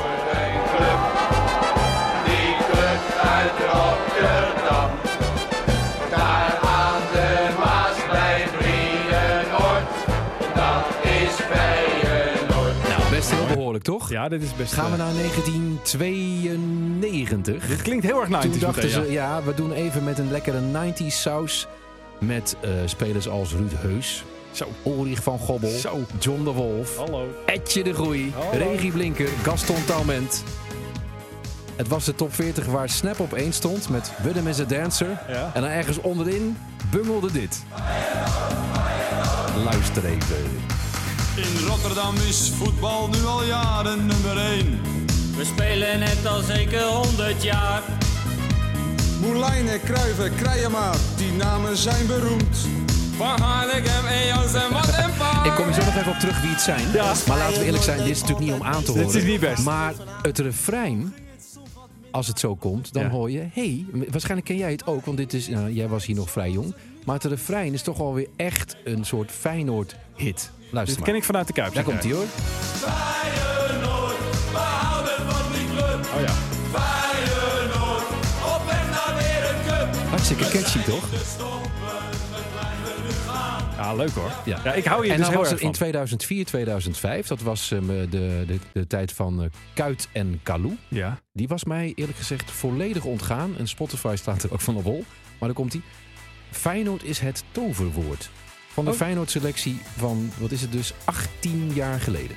Nou, best heel behoorlijk toch?
Ja, dit is best...
Gaan we
eh,
naar 1992.
Dit klinkt heel erg 90's
Toen dachten
meteen,
ze,
eh, ja.
ja, we doen even met een lekkere 90s saus. Met eh, spelers als Ruud Heus,
Zo.
Ulrich van Gobbel,
Zo.
John de Wolf,
Hallo.
Etje de Groei,
Hallo.
Regie Blinker, Gaston Talment. Het was de top 40 waar Snap op 1 stond met Budem is a Dancer.
Ja.
En dan ergens onderin bungelde dit. Luister even.
In Rotterdam is voetbal nu al jaren nummer 1.
We spelen het al zeker 100 jaar.
Moulijn en Kruiven, Krijema, die namen zijn beroemd.
Van Hanegem en Jansen, wat een paar.
Ik kom er zo nog even op terug wie het zijn. Maar laten we eerlijk zijn, dit is natuurlijk niet om aan te horen.
is niet best.
Maar het refrein, als het zo komt, dan
Ja.
hoor je... hey, waarschijnlijk ken jij het ook, want dit is, nou, jij was hier nog vrij jong. Maar het refrein is toch alweer echt een soort Feyenoord-hit.
Dit
Luister maar.
eh, ken ik vanuit de Kuip.
Daar
zeg
komt
jij.
hij hoor.
Oh ja.
Hartstikke catchy, toch?
Ja, leuk hoor. Ja. ik hou hier
en
dus
dan
heel
was
erg
er
van.
in 2004, 2005, dat was ehm, de, de, de tijd van eh, Kuit en Kalou.
Ja.
Die was mij eerlijk gezegd volledig ontgaan. En Spotify staat er ook van op hol. Maar dan komt die. Feyenoord is het toverwoord. Van de
Oh.
Feyenoord selectie van, wat is het dus, 18 jaar geleden.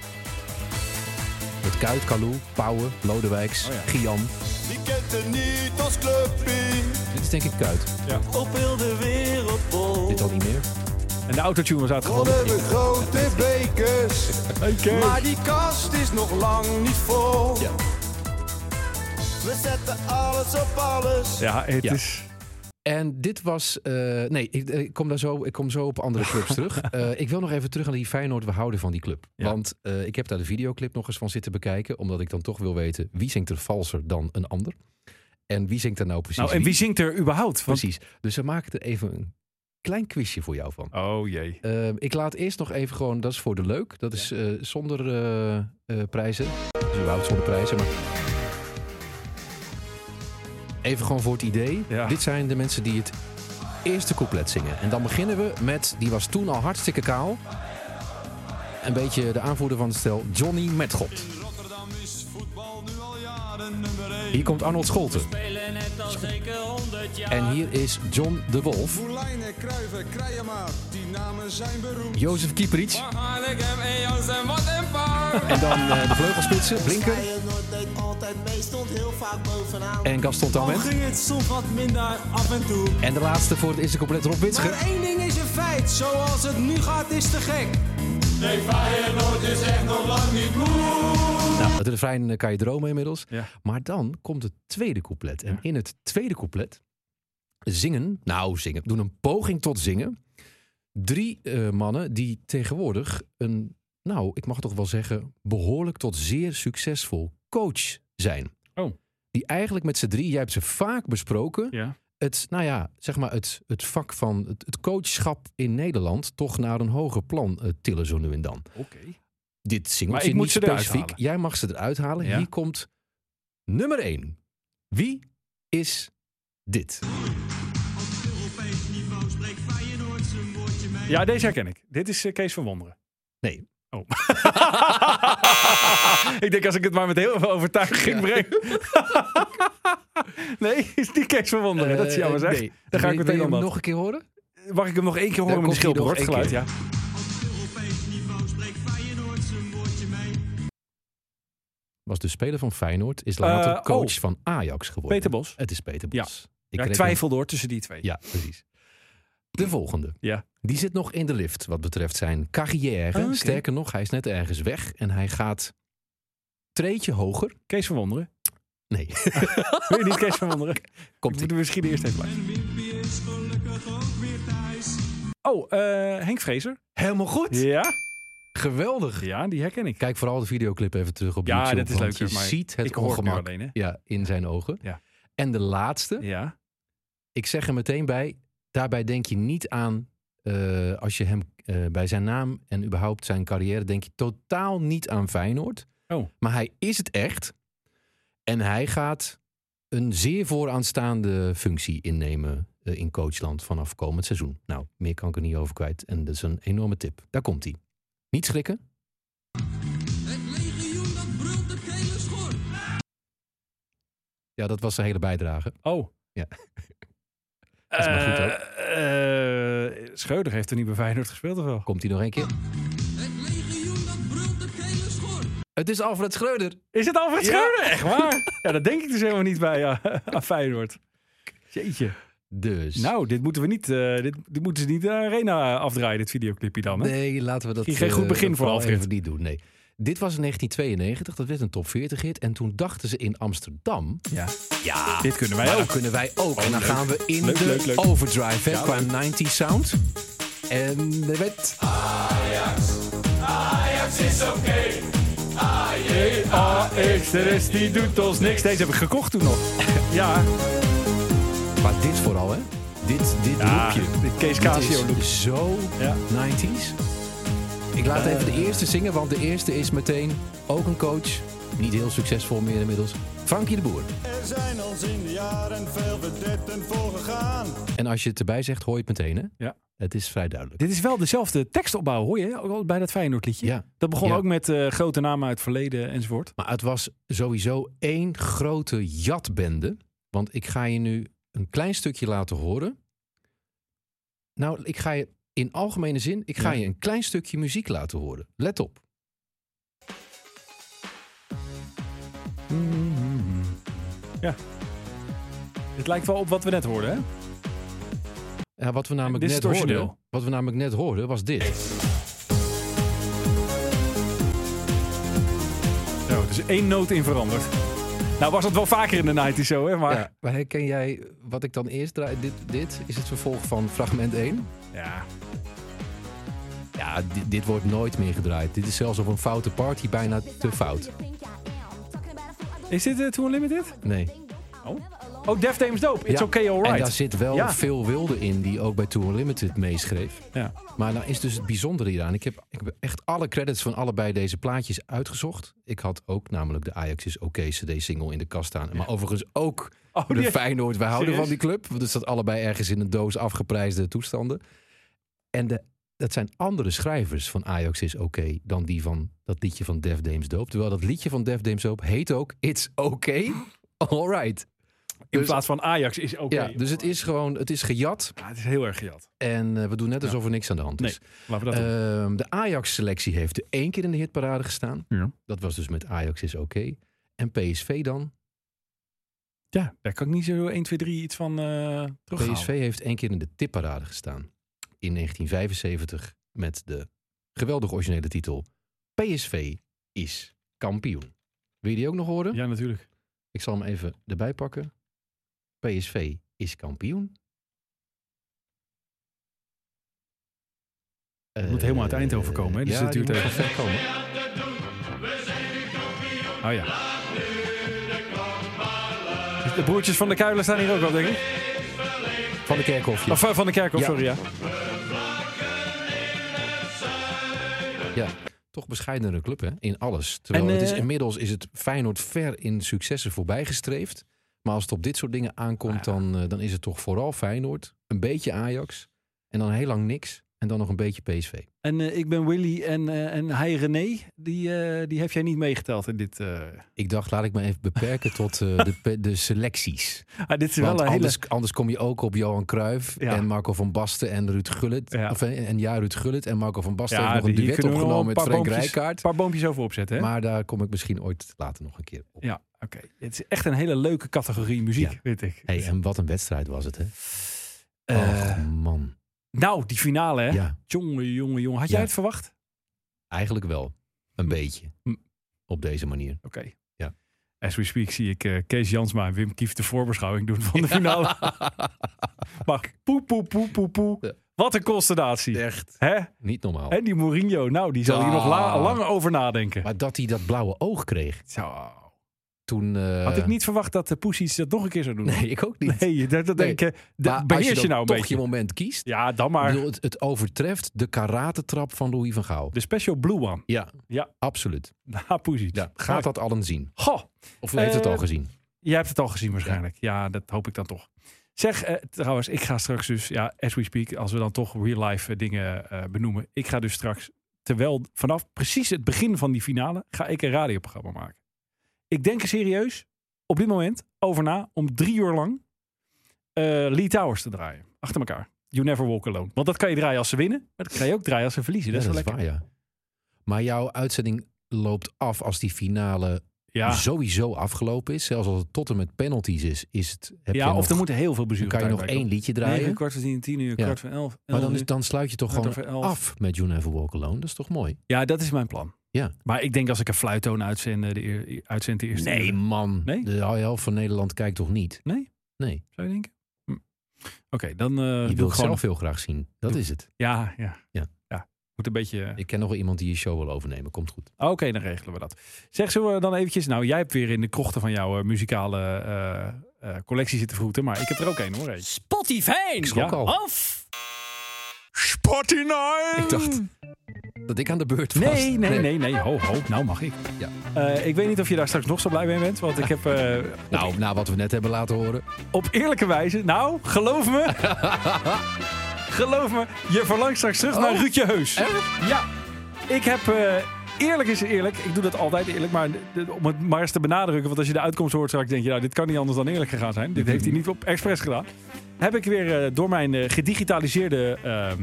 Met Kuit, Kalou, Pauwe, Lodewijks,
Oh ja.
Guillaume.
Die kent er niet als clubpie.
Dit is denk ik Kuit.
Op heel de wereld vol.
Dit al niet meer.
En de autotune was uitgevonden.
Wonnen we grote bekers. Maar die kast is nog lang niet vol. We zetten alles op alles.
Ja, het
Ja.
is...
En dit was. eh, nee, ik, eh, ik kom daar zo, ik kom zo op andere clubs terug. Eh, ik wil nog even terug naar die Feyenoord. We houden van die club.
Ja.
Want eh, ik heb daar de videoclip nog eens van zitten bekijken. Omdat ik dan toch wil weten wie zingt er valser dan een ander. En wie zingt er nou precies?
Nou, en wie zingt er überhaupt? Want-
Precies. Dus we maken er even een klein quizje voor jou van.
Oh jee.
Eh, ik laat eerst nog even gewoon, dat is voor de leuk. Dat is eh, zonder eh, eh, prijzen. Dus überhaupt zonder prijzen, maar... Even gewoon voor het idee.
Ja.
Dit zijn de mensen die het eerste couplet zingen. En dan beginnen we met, die was toen al hartstikke kaal. Een beetje de aanvoerder van het stel, Johnny Metgod. Hier komt Arnold Scholten.
Spelen het al zeker 100 jaar.
En hier is John de Wolf.
Moelijnen, Kruiven, Krijemaar, die namen zijn beroemd.
Jozef Kieperits.
Arnhem en Jansen, wat een paar.
En dan eh, de vleugelspitsen, Blinker.
Feyenoord deed altijd mee, stond heel vaak bovenaan.
En Gaston Tammen.
Al ging het soms wat minder af en toe.
En de laatste voor het eerste compleet Rob Witsche.
Maar één ding is een feit, zoals het nu gaat is te gek. Nee, Feyenoord is echt nog lang niet moe.
Nou, het refrein eh, kan je dromen inmiddels.
Ja.
Maar dan komt het tweede couplet. En in het tweede couplet zingen, nou zingen, doen een poging tot zingen. Drie eh, mannen die tegenwoordig een, nou ik mag toch wel zeggen, behoorlijk tot zeer succesvol coach zijn.
Oh.
Die eigenlijk met z'n drie, jij hebt ze vaak besproken,
Ja.
het, nou ja, zeg maar het, het vak van het, het coachschap in Nederland toch naar een hoger plan eh, tillen zo nu en dan.
Oké.
Dit
Maar
singeltje
ik moet
niet
ze eruit
specifiek.
halen.
Jij mag ze eruit halen.
Ja.
Hier komt nummer 1. Wie is dit?
Ja, deze herken ik. Dit is eh, Kees van Wonderen.
Nee.
Oh. ik denk als ik het maar met heel veel overtuiging breng. nee, is die Kees van Wonderen. dat is jammer
Eh,
zeg.
nee.
Dan ga ik
Wil- wil
meteen
je
om
hem
dat.
nog een keer horen?
Mag ik hem nog één keer horen
Dan
met die
komt hij nog
schildpad?
één
geluid,
keer.
ja.
Was de speler van Feyenoord. Is later
Eh,
coach
oh.
van Ajax geworden.
Peter Bos.
Het is Peter
Ja.
Bos.
Ja, ik
reken-
twijfel door tussen die twee.
Ja, precies. De volgende.
Ja.
Die zit nog in de lift wat betreft zijn carrière.
Ah, oké.
Sterker nog, hij is net ergens weg. En hij gaat treetje hoger.
Kees van Wonderen.
Nee,
Wil je niet Kees van Wonderen? Ik
komt
moet er misschien eerst even bij. Oh, eh, Henk Vrezer.
Helemaal goed.
Ja?
Geweldig.
Ja, die herken ik.
Kijk vooral de videoclip even terug op
Ja,
YouTube.
dat is
want
leuker,
Je
maar
ziet het
ik hoor het nu
ongemak
alleen, hè?
Ja, in zijn ogen.
Ja.
En de laatste.
Ja.
Ik zeg er meteen bij. Daarbij denk je niet aan... eh, als je hem eh, bij zijn naam en überhaupt zijn carrière... denk je totaal niet aan Feyenoord.
Oh.
Maar hij is het echt. En hij gaat een zeer vooraanstaande functie innemen... eh, in coachland vanaf komend seizoen. Nou, meer kan ik er niet over kwijt. En dat is een enorme tip. Daar komt hij. Niet schrikken. Ja, dat was zijn hele bijdrage.
Oh.
Ja. is maar goed, hoor.
Eh, eh, Scheuder heeft er niet bij Feyenoord gespeeld of wel?
Komt hij nog een keer? Het is Alfred Schreuder.
Is het Alfred Scheuder? Echt waar? ja, dat denk ik dus helemaal niet bij ja, aan Feyenoord. Jeetje.
Dus.
Nou, dit moeten we niet. eh, dit, dit moeten ze niet de arena afdraaien, dit videoclipje dan. Hè?
nee, laten we dat.
Geen
eh,
goed begin
dat
voor
vooral
Alfred.
even niet doen. Nee. Dit was in 1992, dat werd een top 40 hit. En toen dachten ze in Amsterdam.
Ja.
Ja,
Dit kunnen wij
maar
ook. Oh,
dat kunnen wij ook. en dan
leuk.
gaan we in
Leuk,
de
leuk, leuk.
overdrive hè, qua 90 sound. En eh, er werd.
AX, de rest die doet ons niks. Deze heb ik gekocht toen nog. ja.
Maar dit vooral, hè? Dit, dit
Ja,
loopje.
dit Kees
Dit
Casio
is
look.
Zo
Ja.
90s. Ik laat even de eerste zingen, want de eerste is meteen ook een coach. Niet heel succesvol meer inmiddels. Frankie de Boer.
Er zijn ons in de jaren veel verdetten voor gegaan.
En als je het erbij zegt, hoor je het meteen, hè?
Ja.
Het is vrij duidelijk.
Dit is wel dezelfde tekstopbouw, hoor je? Ook al bij dat Feyenoord liedje.
Ja.
Dat begon
Ja.
ook met eh, grote namen uit het verleden enzovoort.
Maar het was sowieso één grote jatbende. Want ik ga je nu een klein stukje laten horen. Nou, ik ga je in algemene zin, ik ga
Ja.
je een klein stukje muziek laten horen. Let op.
Ja. Het lijkt wel op wat we net hoorden, hè?
Ja, wat we namelijk
Dit is
net
het origineel.
hoorden, wat we namelijk net hoorden, was dit.
Zo, dus één noot in veranderd. Nou was dat wel vaker in de 90 zo, hè? Maar
Ja, maar herken jij wat ik dan eerst draai? Dit, dit is het vervolg van fragment 1.
ja.
Ja, dit, dit wordt nooit meer gedraaid. Dit is zelfs op een foute party bijna te fout.
Is dit het Too Unlimited?
Nee.
Oh, oh Def Dames Dope. It's
Ja,
okay, alright.
En daar zit wel
Ja.
veel wilde in die ook bij Tour Unlimited meeschreef.
Ja.
Maar dan is dus het bijzondere hieraan. Ik heb, ik heb echt alle credits van allebei deze plaatjes uitgezocht. Ik had ook namelijk de Ajax is oké CD-single in de kast staan. Maar overigens ook
Oh,
de
die-
Feyenoord. Wij houden
Serieus?
van die club. Want het staat allebei ergens in een doos afgeprijsde toestanden. En de, dat zijn andere schrijvers van Ajax is oké dan die van dat liedje van Def Dames Dope. Terwijl dat liedje van Def Dames Dope heet ook It's Okay, Alright.
In
Dus-
plaats van Ajax is oké.
ja, dus het is gewoon, het is gejat.
Ja, het is heel erg gejat.
En eh, we doen net alsof er niks aan de hand
Nee,
is.
laten we dat doen.
Ehm, de Ajax-selectie heeft er één keer in de hitparade gestaan.
Ja.
Dat was dus met Ajax is oké. En PSV dan?
Ja, daar kan ik niet zo 1, 2, 3 iets van eh terughalen.
PSV heeft één keer in de tipparade gestaan. In 1975 met de geweldig originele titel PSV is kampioen. Wil je die ook nog horen?
Ja, natuurlijk.
Ik zal hem even erbij pakken. PSV is kampioen. Het
moet helemaal uit Eindhoven komen, hè? Dus
Eh, ja,
het duurt
die moet
even.
van ver komen.
Oh ja. De broertjes van de Kuilen staan hier ook wel, denk ik.
Van de Kerkhof.
Of eh, van de Kerkhof,
Ja.
sorry. Ja.
Ja, toch bescheidenere club hè, in alles. Terwijl
En,
het is,
eh,
inmiddels is het Feyenoord ver in successen voorbij gestreefd. Maar als het op dit soort dingen aankomt,
Nou
dan, eh, dan is het toch vooral Feyenoord. Een beetje Ajax. En dan heel lang niks. En dan nog een beetje PSV.
En eh, ik ben Willy en, eh, en hij René. Die, eh, die heb jij niet meegeteld in dit. eh.
Ik dacht, laat ik me even beperken tot eh, de, pe- de selecties.
Ah, dit is wel
Want
een hele...
anders, anders kom je ook op Johan Cruijff
Ja.
en Marco van Basten en Ruud Gullit.
Ja.
Of, eh, en ja, Ruud Gullit en Marco van Basten heeft nog
die-
een
hier
duet
kunnen we nog
opgenomen met Frank
boompjes,
Rijkaard.
paar boompjes over opzetten. Hè?
Maar daar kom ik misschien ooit later nog een keer op.
Ja, oké. Het is echt een hele leuke categorie muziek,
Ja.
weet ik.
Hey, en wat een wedstrijd was het, hè?
Eh,
Och, man.
nou, die finale, hè?
Ja,
Jongen, jongen, jongen. Had jij
Ja.
het verwacht?
eigenlijk wel. Een beetje.
Hm.
Op deze manier.
Oké.
Ja.
As we speak zie ik eh, Kees Jansma en Wim Kieft de voorbeschouwing doen van de finale. maar poe, poe, poe, poe, poe.
Ja.
Wat een constatatie.
Echt.
Hè?
Niet normaal.
En die Mourinho, nou, die zal hier
Ja.
nog la- lang over nadenken.
Maar dat hij dat blauwe oog kreeg
Zo.
toen... eh,
Had ik niet verwacht dat de Poesies dat nog een keer zou doen.
Nee, ik ook niet.
Nee, dat, dat
Nee.
denk ik. eh, dat
Maar als
beheers
je,
je,
dan
nou een
toch
beetje.
je moment kiest...
Ja, dan
Ik
maar.
bedoel, het, het overtreft de karatetrap van Louis van Gaal.
De special blue one.
Ja,
Ja.
absoluut.
Na Poesies.
Ja. Gaat dat allen zien?
Goh.
Of heeft het
Eh,
al gezien?
Jij hebt het al gezien waarschijnlijk. Ja, dat hoop ik dan toch. Zeg, eh, trouwens, ik ga straks dus, ja, as we speak, als we dan toch real life eh, dingen eh, benoemen. Ik ga dus straks, terwijl vanaf precies het begin van die finale, ga ik een radioprogramma maken. Ik denk er serieus op dit moment over na om drie uur lang eh, Lee Towers te draaien. Achter elkaar. You never walk alone. Want dat kan je draaien als ze winnen, maar dat kan je ook draaien als ze verliezen.
Ja,
Dat
dat
is wel
is
lekker.
waar, ja. Maar jouw uitzending loopt af als die finale
Ja,
Dus sowieso afgelopen is. Zelfs als het tot en met penalties is, is het, heb je
ja of
nog-
er moeten heel veel
dan
bezuren
kan je nog één liedje draaien.
Negen, kwart voor tien, tien uur,
Ja.
kwart voor elf.
maar dan,
elf
is,
uur.
dan sluit je toch
Kwart
gewoon
over elf.
af met You Never Walk Alone. Dat is toch mooi?
Ja, dat is mijn plan.
Ja.
Maar ik denk als ik een fluittoon uitzend, eh, de, eer- uitzend de eerste
Nee,
uur.
man.
Nee?
De helft van Nederland kijkt toch niet?
Nee?
Nee.
Zou je denken? Hm. Oké, dan eh doe
je
ik
wilt
gewoon...
zelf heel graag zien. Dat
Doe-
is het.
Ja, ja.
Ja.
Moet een beetje... eh,
Ik ken nog wel iemand die je show wil overnemen. Komt goed.
Oké, dan regelen we dat. Zeg, zullen we dan eventjes... Nou, jij hebt weer in de krochten van jouw eh, muzikale eh, eh, collectie zitten vroeten. Maar ik heb er ook één hoor. Hey.
Spotify!
Schrok
Ja.
al.
Af!
Ik dacht dat ik aan de beurt was.
Ehm. Nee, nee, nee, nee. Ho, ho. Nou mag ik.
Ja.
Eh, ik weet niet of je daar straks nog zo blij mee bent. Want ik heb eh,
Nou, na wat we net hebben laten horen.
op eerlijke wijze... Nou, geloof me. Geloof me, je verlangt straks terug naar
Oh.
Ruudje Heus.
Echt?
Ja. Ik heb... eh, Eerlijk is eerlijk. Ik doe dat altijd eerlijk. Maar de- om het maar eens te benadrukken. Want als je de uitkomst hoort straks denk je... Nou, dit kan niet anders dan eerlijk gegaan zijn. Dit heeft hij niet op expres gedaan. Heb ik weer eh, door mijn eh, gedigitaliseerde ehm,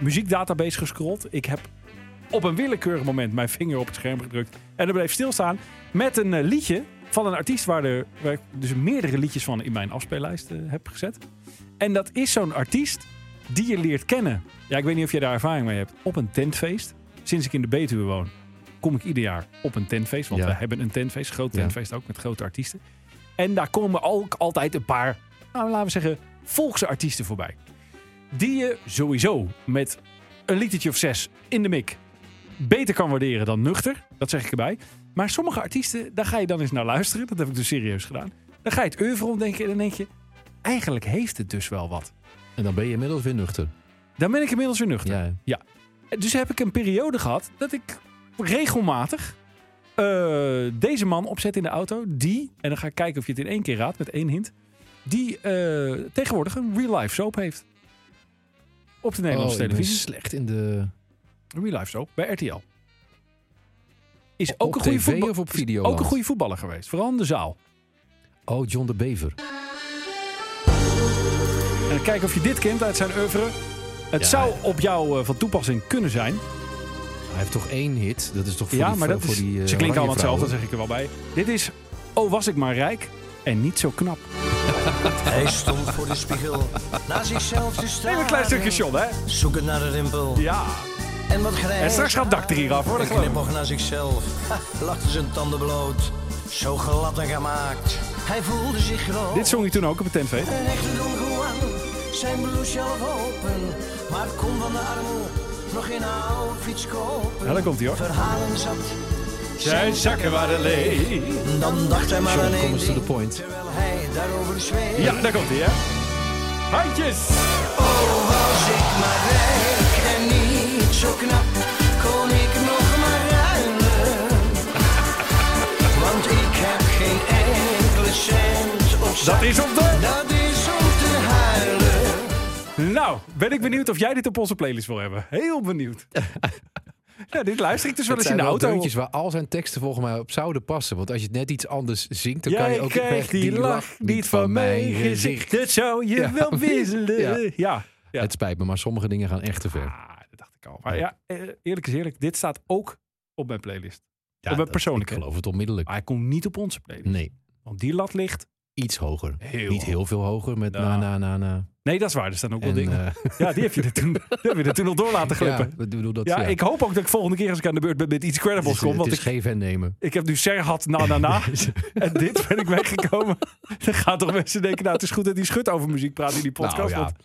muziekdatabase gescrolld. Ik heb op een willekeurig moment mijn vinger op het scherm gedrukt. En er bleef stilstaan met een eh, liedje van een artiest waar, er, waar ik dus meerdere liedjes van in mijn afspeellijst eh, heb gezet. En dat is zo'n artiest die je leert kennen. Ja, ik weet niet of jij daar ervaring mee hebt. Op een tentfeest. Sinds ik in de Betuwe woon, kom ik ieder jaar op een tentfeest. Want
Ja.
we hebben een tentfeest, groot
Ja.
tentfeest ook, met grote artiesten. En daar komen ook altijd een paar, nou, laten we zeggen, volkse artiesten voorbij. Die je sowieso met een litertje of zes in de mik beter kan waarderen dan nuchter. Dat zeg ik erbij. Maar sommige artiesten, daar ga je dan eens naar luisteren. Dat heb ik dus serieus gedaan. Dan ga je het oeuvre ontdekken en dan denk je... Eigenlijk heeft het dus wel wat.
En dan ben je inmiddels weer nuchter.
Dan ben ik inmiddels weer nuchter.
Ja, hè?
Ja. Dus heb ik een periode gehad dat ik regelmatig eh, deze man opzet in de auto. Die, en dan ga ik kijken of je het in één keer raadt met één hint. Die eh, tegenwoordig een real-life soap heeft. Op de
oh,
Nederlandse
ik ben
televisie.
slecht in de...
Een real-life soap bij RTL. Is
Op
ook, een goede
TV
voetbal-
of op
is
Videoland?
ook een goede voetballer geweest. Vooral in de zaal.
Oh, John de Bever.
En dan kijken of je dit kent uit zijn oeuvre. Het
Ja.
zou op jou eh, van toepassing kunnen zijn.
Hij heeft toch één hit? Dat is toch voor
ja,
die,
maar dat
voor
is,
die, eh,
ze klinken allemaal
Oranjevrouwen?
hetzelfde, zeg ik er wel bij. Dit is Oh, was ik maar rijk en niet zo knap.
Hij stond voor de spiegel naar zichzelf te staan.
Even een klein stukje John, hè?
Zoekend naar een rimpel.
Ja.
En wat grijs.
En straks gaat dak er hier af, hoor, dat
Een
geloof ik.
knipoog naar zichzelf. Ha, Lachte zijn tanden bloot. Zo glad en gemaakt. Hij voelde zich groot.
Dit zong hij toen ook op het tentfeest.
Een echte Don Juan. Zijn blouse half open. Maar kon van de armoe nog geen outfits kopen.
Ja, daar komt hij, hoor.
Verhalen zat.
Zijn zakken waren leeg.
Dan dacht hij maar
John,
aan één
kom eens to the
ding,
point.
terwijl hij daarover zweeg.
Ja, daar komt hij, hè? Handjes!
Oh, was ik maar rijk en niet zo knap, kon ik nog maar ruilen. Want ik heb geen enkele cent op zak.
Dat is om te-
Dat is om te huilen.
Nou, ben ik benieuwd of jij dit op onze playlist wil hebben. Heel benieuwd. ja, dit luister ik dus wel
Het
eens in
zijn
de
wel
auto.
deuntjes waar al zijn teksten volgens mij op zouden passen. Want als je net iets anders zingt, dan kan
Jij
je ook
krijgt
echt
die lach niet van mijn gezicht. Dat zou je
Ja.
wel wisselen.
Ja.
ja.
Het spijt me, maar sommige dingen gaan echt te ver.
Ah, Maar ja, eh, eerlijk is eerlijk, dit staat ook op mijn playlist.
Ja,
op mijn
dat-
persoonlijke.
Ik geloof het onmiddellijk.
Maar hij komt niet op onze playlist.
Ah, Nee,
Want die lat ligt.
iets hoger.
Heel
niet heel veel hoger met na,
Nou.
na, na, na.
Nee, dat is waar. Er staan ook wel
En,
dingen.
eh,
Ja, die heb je er toen, die heb je er toen al door laten glippen.
ja, ik bedoel dat,
Ja,
ja.
ik hoop ook dat ik volgende keer als ik aan de beurt ben met iets
het is,
credibles kom.
het
Want
is
ik,
geven en nemen.
ik heb nu Serhat na na na. en dit ben ik weggekomen. Dan gaan toch mensen denken, nou het is goed dat die schut over muziek praat in die podcast.
Nou, ja,
want-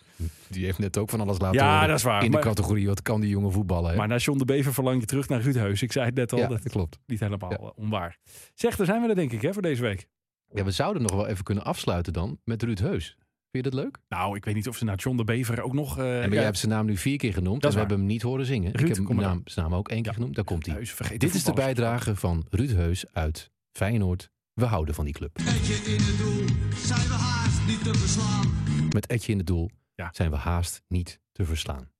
die heeft net ook van alles laten
Ja,
horen.
dat is waar,
In
maar-
de categorie, wat kan die jongen voetballen? Hè?
maar naar John de Bever verlang je terug naar Ruud Heus. Ik zei het net al,
ja,
dat
dat
is
klopt.
niet helemaal eh, onwaar. Zeg, daar zijn we er denk ik hè, voor deze week.
Ja, we zouden nog wel even kunnen afsluiten dan met Ruud Heus. Vind je dat leuk?
Nou, ik weet niet of ze naar John de Bever ook nog... eh,
En maar
ja,
jij hebt zijn naam nu vier keer genoemd.
Dat
En
is
we
waar.
hebben hem niet horen zingen.
Ruud,
ik heb
kom
hem
maar
naam, zijn naam ook één keer genoemd. Daar komt hij.
Heus, vergeet
Dit is de
voetballers.
bijdrage van Ruud Heus uit Feyenoord. We houden van die club.
Netje in het doel, zijn we haast niet te verslaan.
Met Etje in het doel
Ja.
zijn we haast niet te verslaan.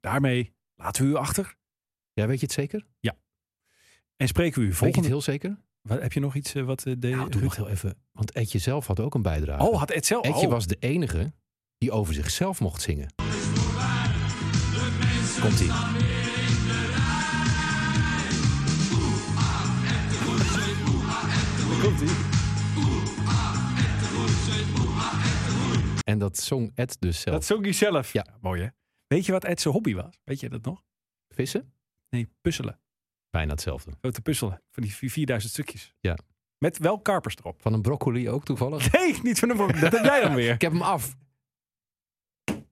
Daarmee laten we u achter
Ja, weet je het zeker?
en spreken we u
Weet je het
volgende...
heel zeker?
Wat, heb je nog iets eh, wat eh, de...
Nou, doe nog heel even. Want Etje zelf had ook een bijdrage.
Oh, had Edsel...
Etje
oh.
was de enige die over zichzelf mocht zingen. Komt ie. En dat zong Ed dus zelf.
Dat zong hij zelf.
Ja.
mooi hè. Weet je wat Ed zijn hobby was? Weet je dat nog?
Vissen?
Nee, puzzelen.
Bijna hetzelfde.
Zo te puzzelen. Van die vier- 4000 stukjes.
Ja.
Met wel karpers erop.
Van een broccoli ook toevallig.
Nee, niet van de broek. Dat heb jij dan weer.
Ik heb hem af.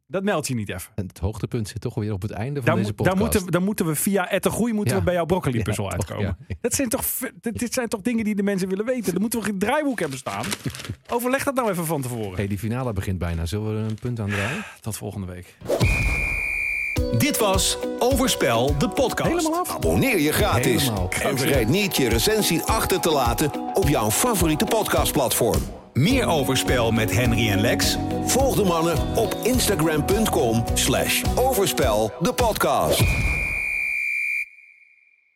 Dat meldt je niet even.
En het hoogtepunt zit toch weer op het einde van
Dan,
deze
moet- dan,
podcast.
moeten, we- dan moeten we via Ed de Groei moeten
Ja.
we bij jouw broccoli puzzel
Ja, toch,
uitkomen.
ja.
Dat zijn toch, v- dit dit zijn toch dingen die de mensen willen weten. Dan moeten we een draaiboek hebben staan. Overleg dat nou even van tevoren.
hey, die finale begint bijna. Zullen we er een punt aan draaien?
Tot volgende week.
Dit was Overspel, de podcast.
Helemaal af.
Abonneer je gratis.
Helemaal.
En vergeet niet je recensie achter te laten op jouw favoriete podcastplatform.
Meer Overspel met Henry en Lex
Volg de mannen op instagram.com slash overspel de podcast.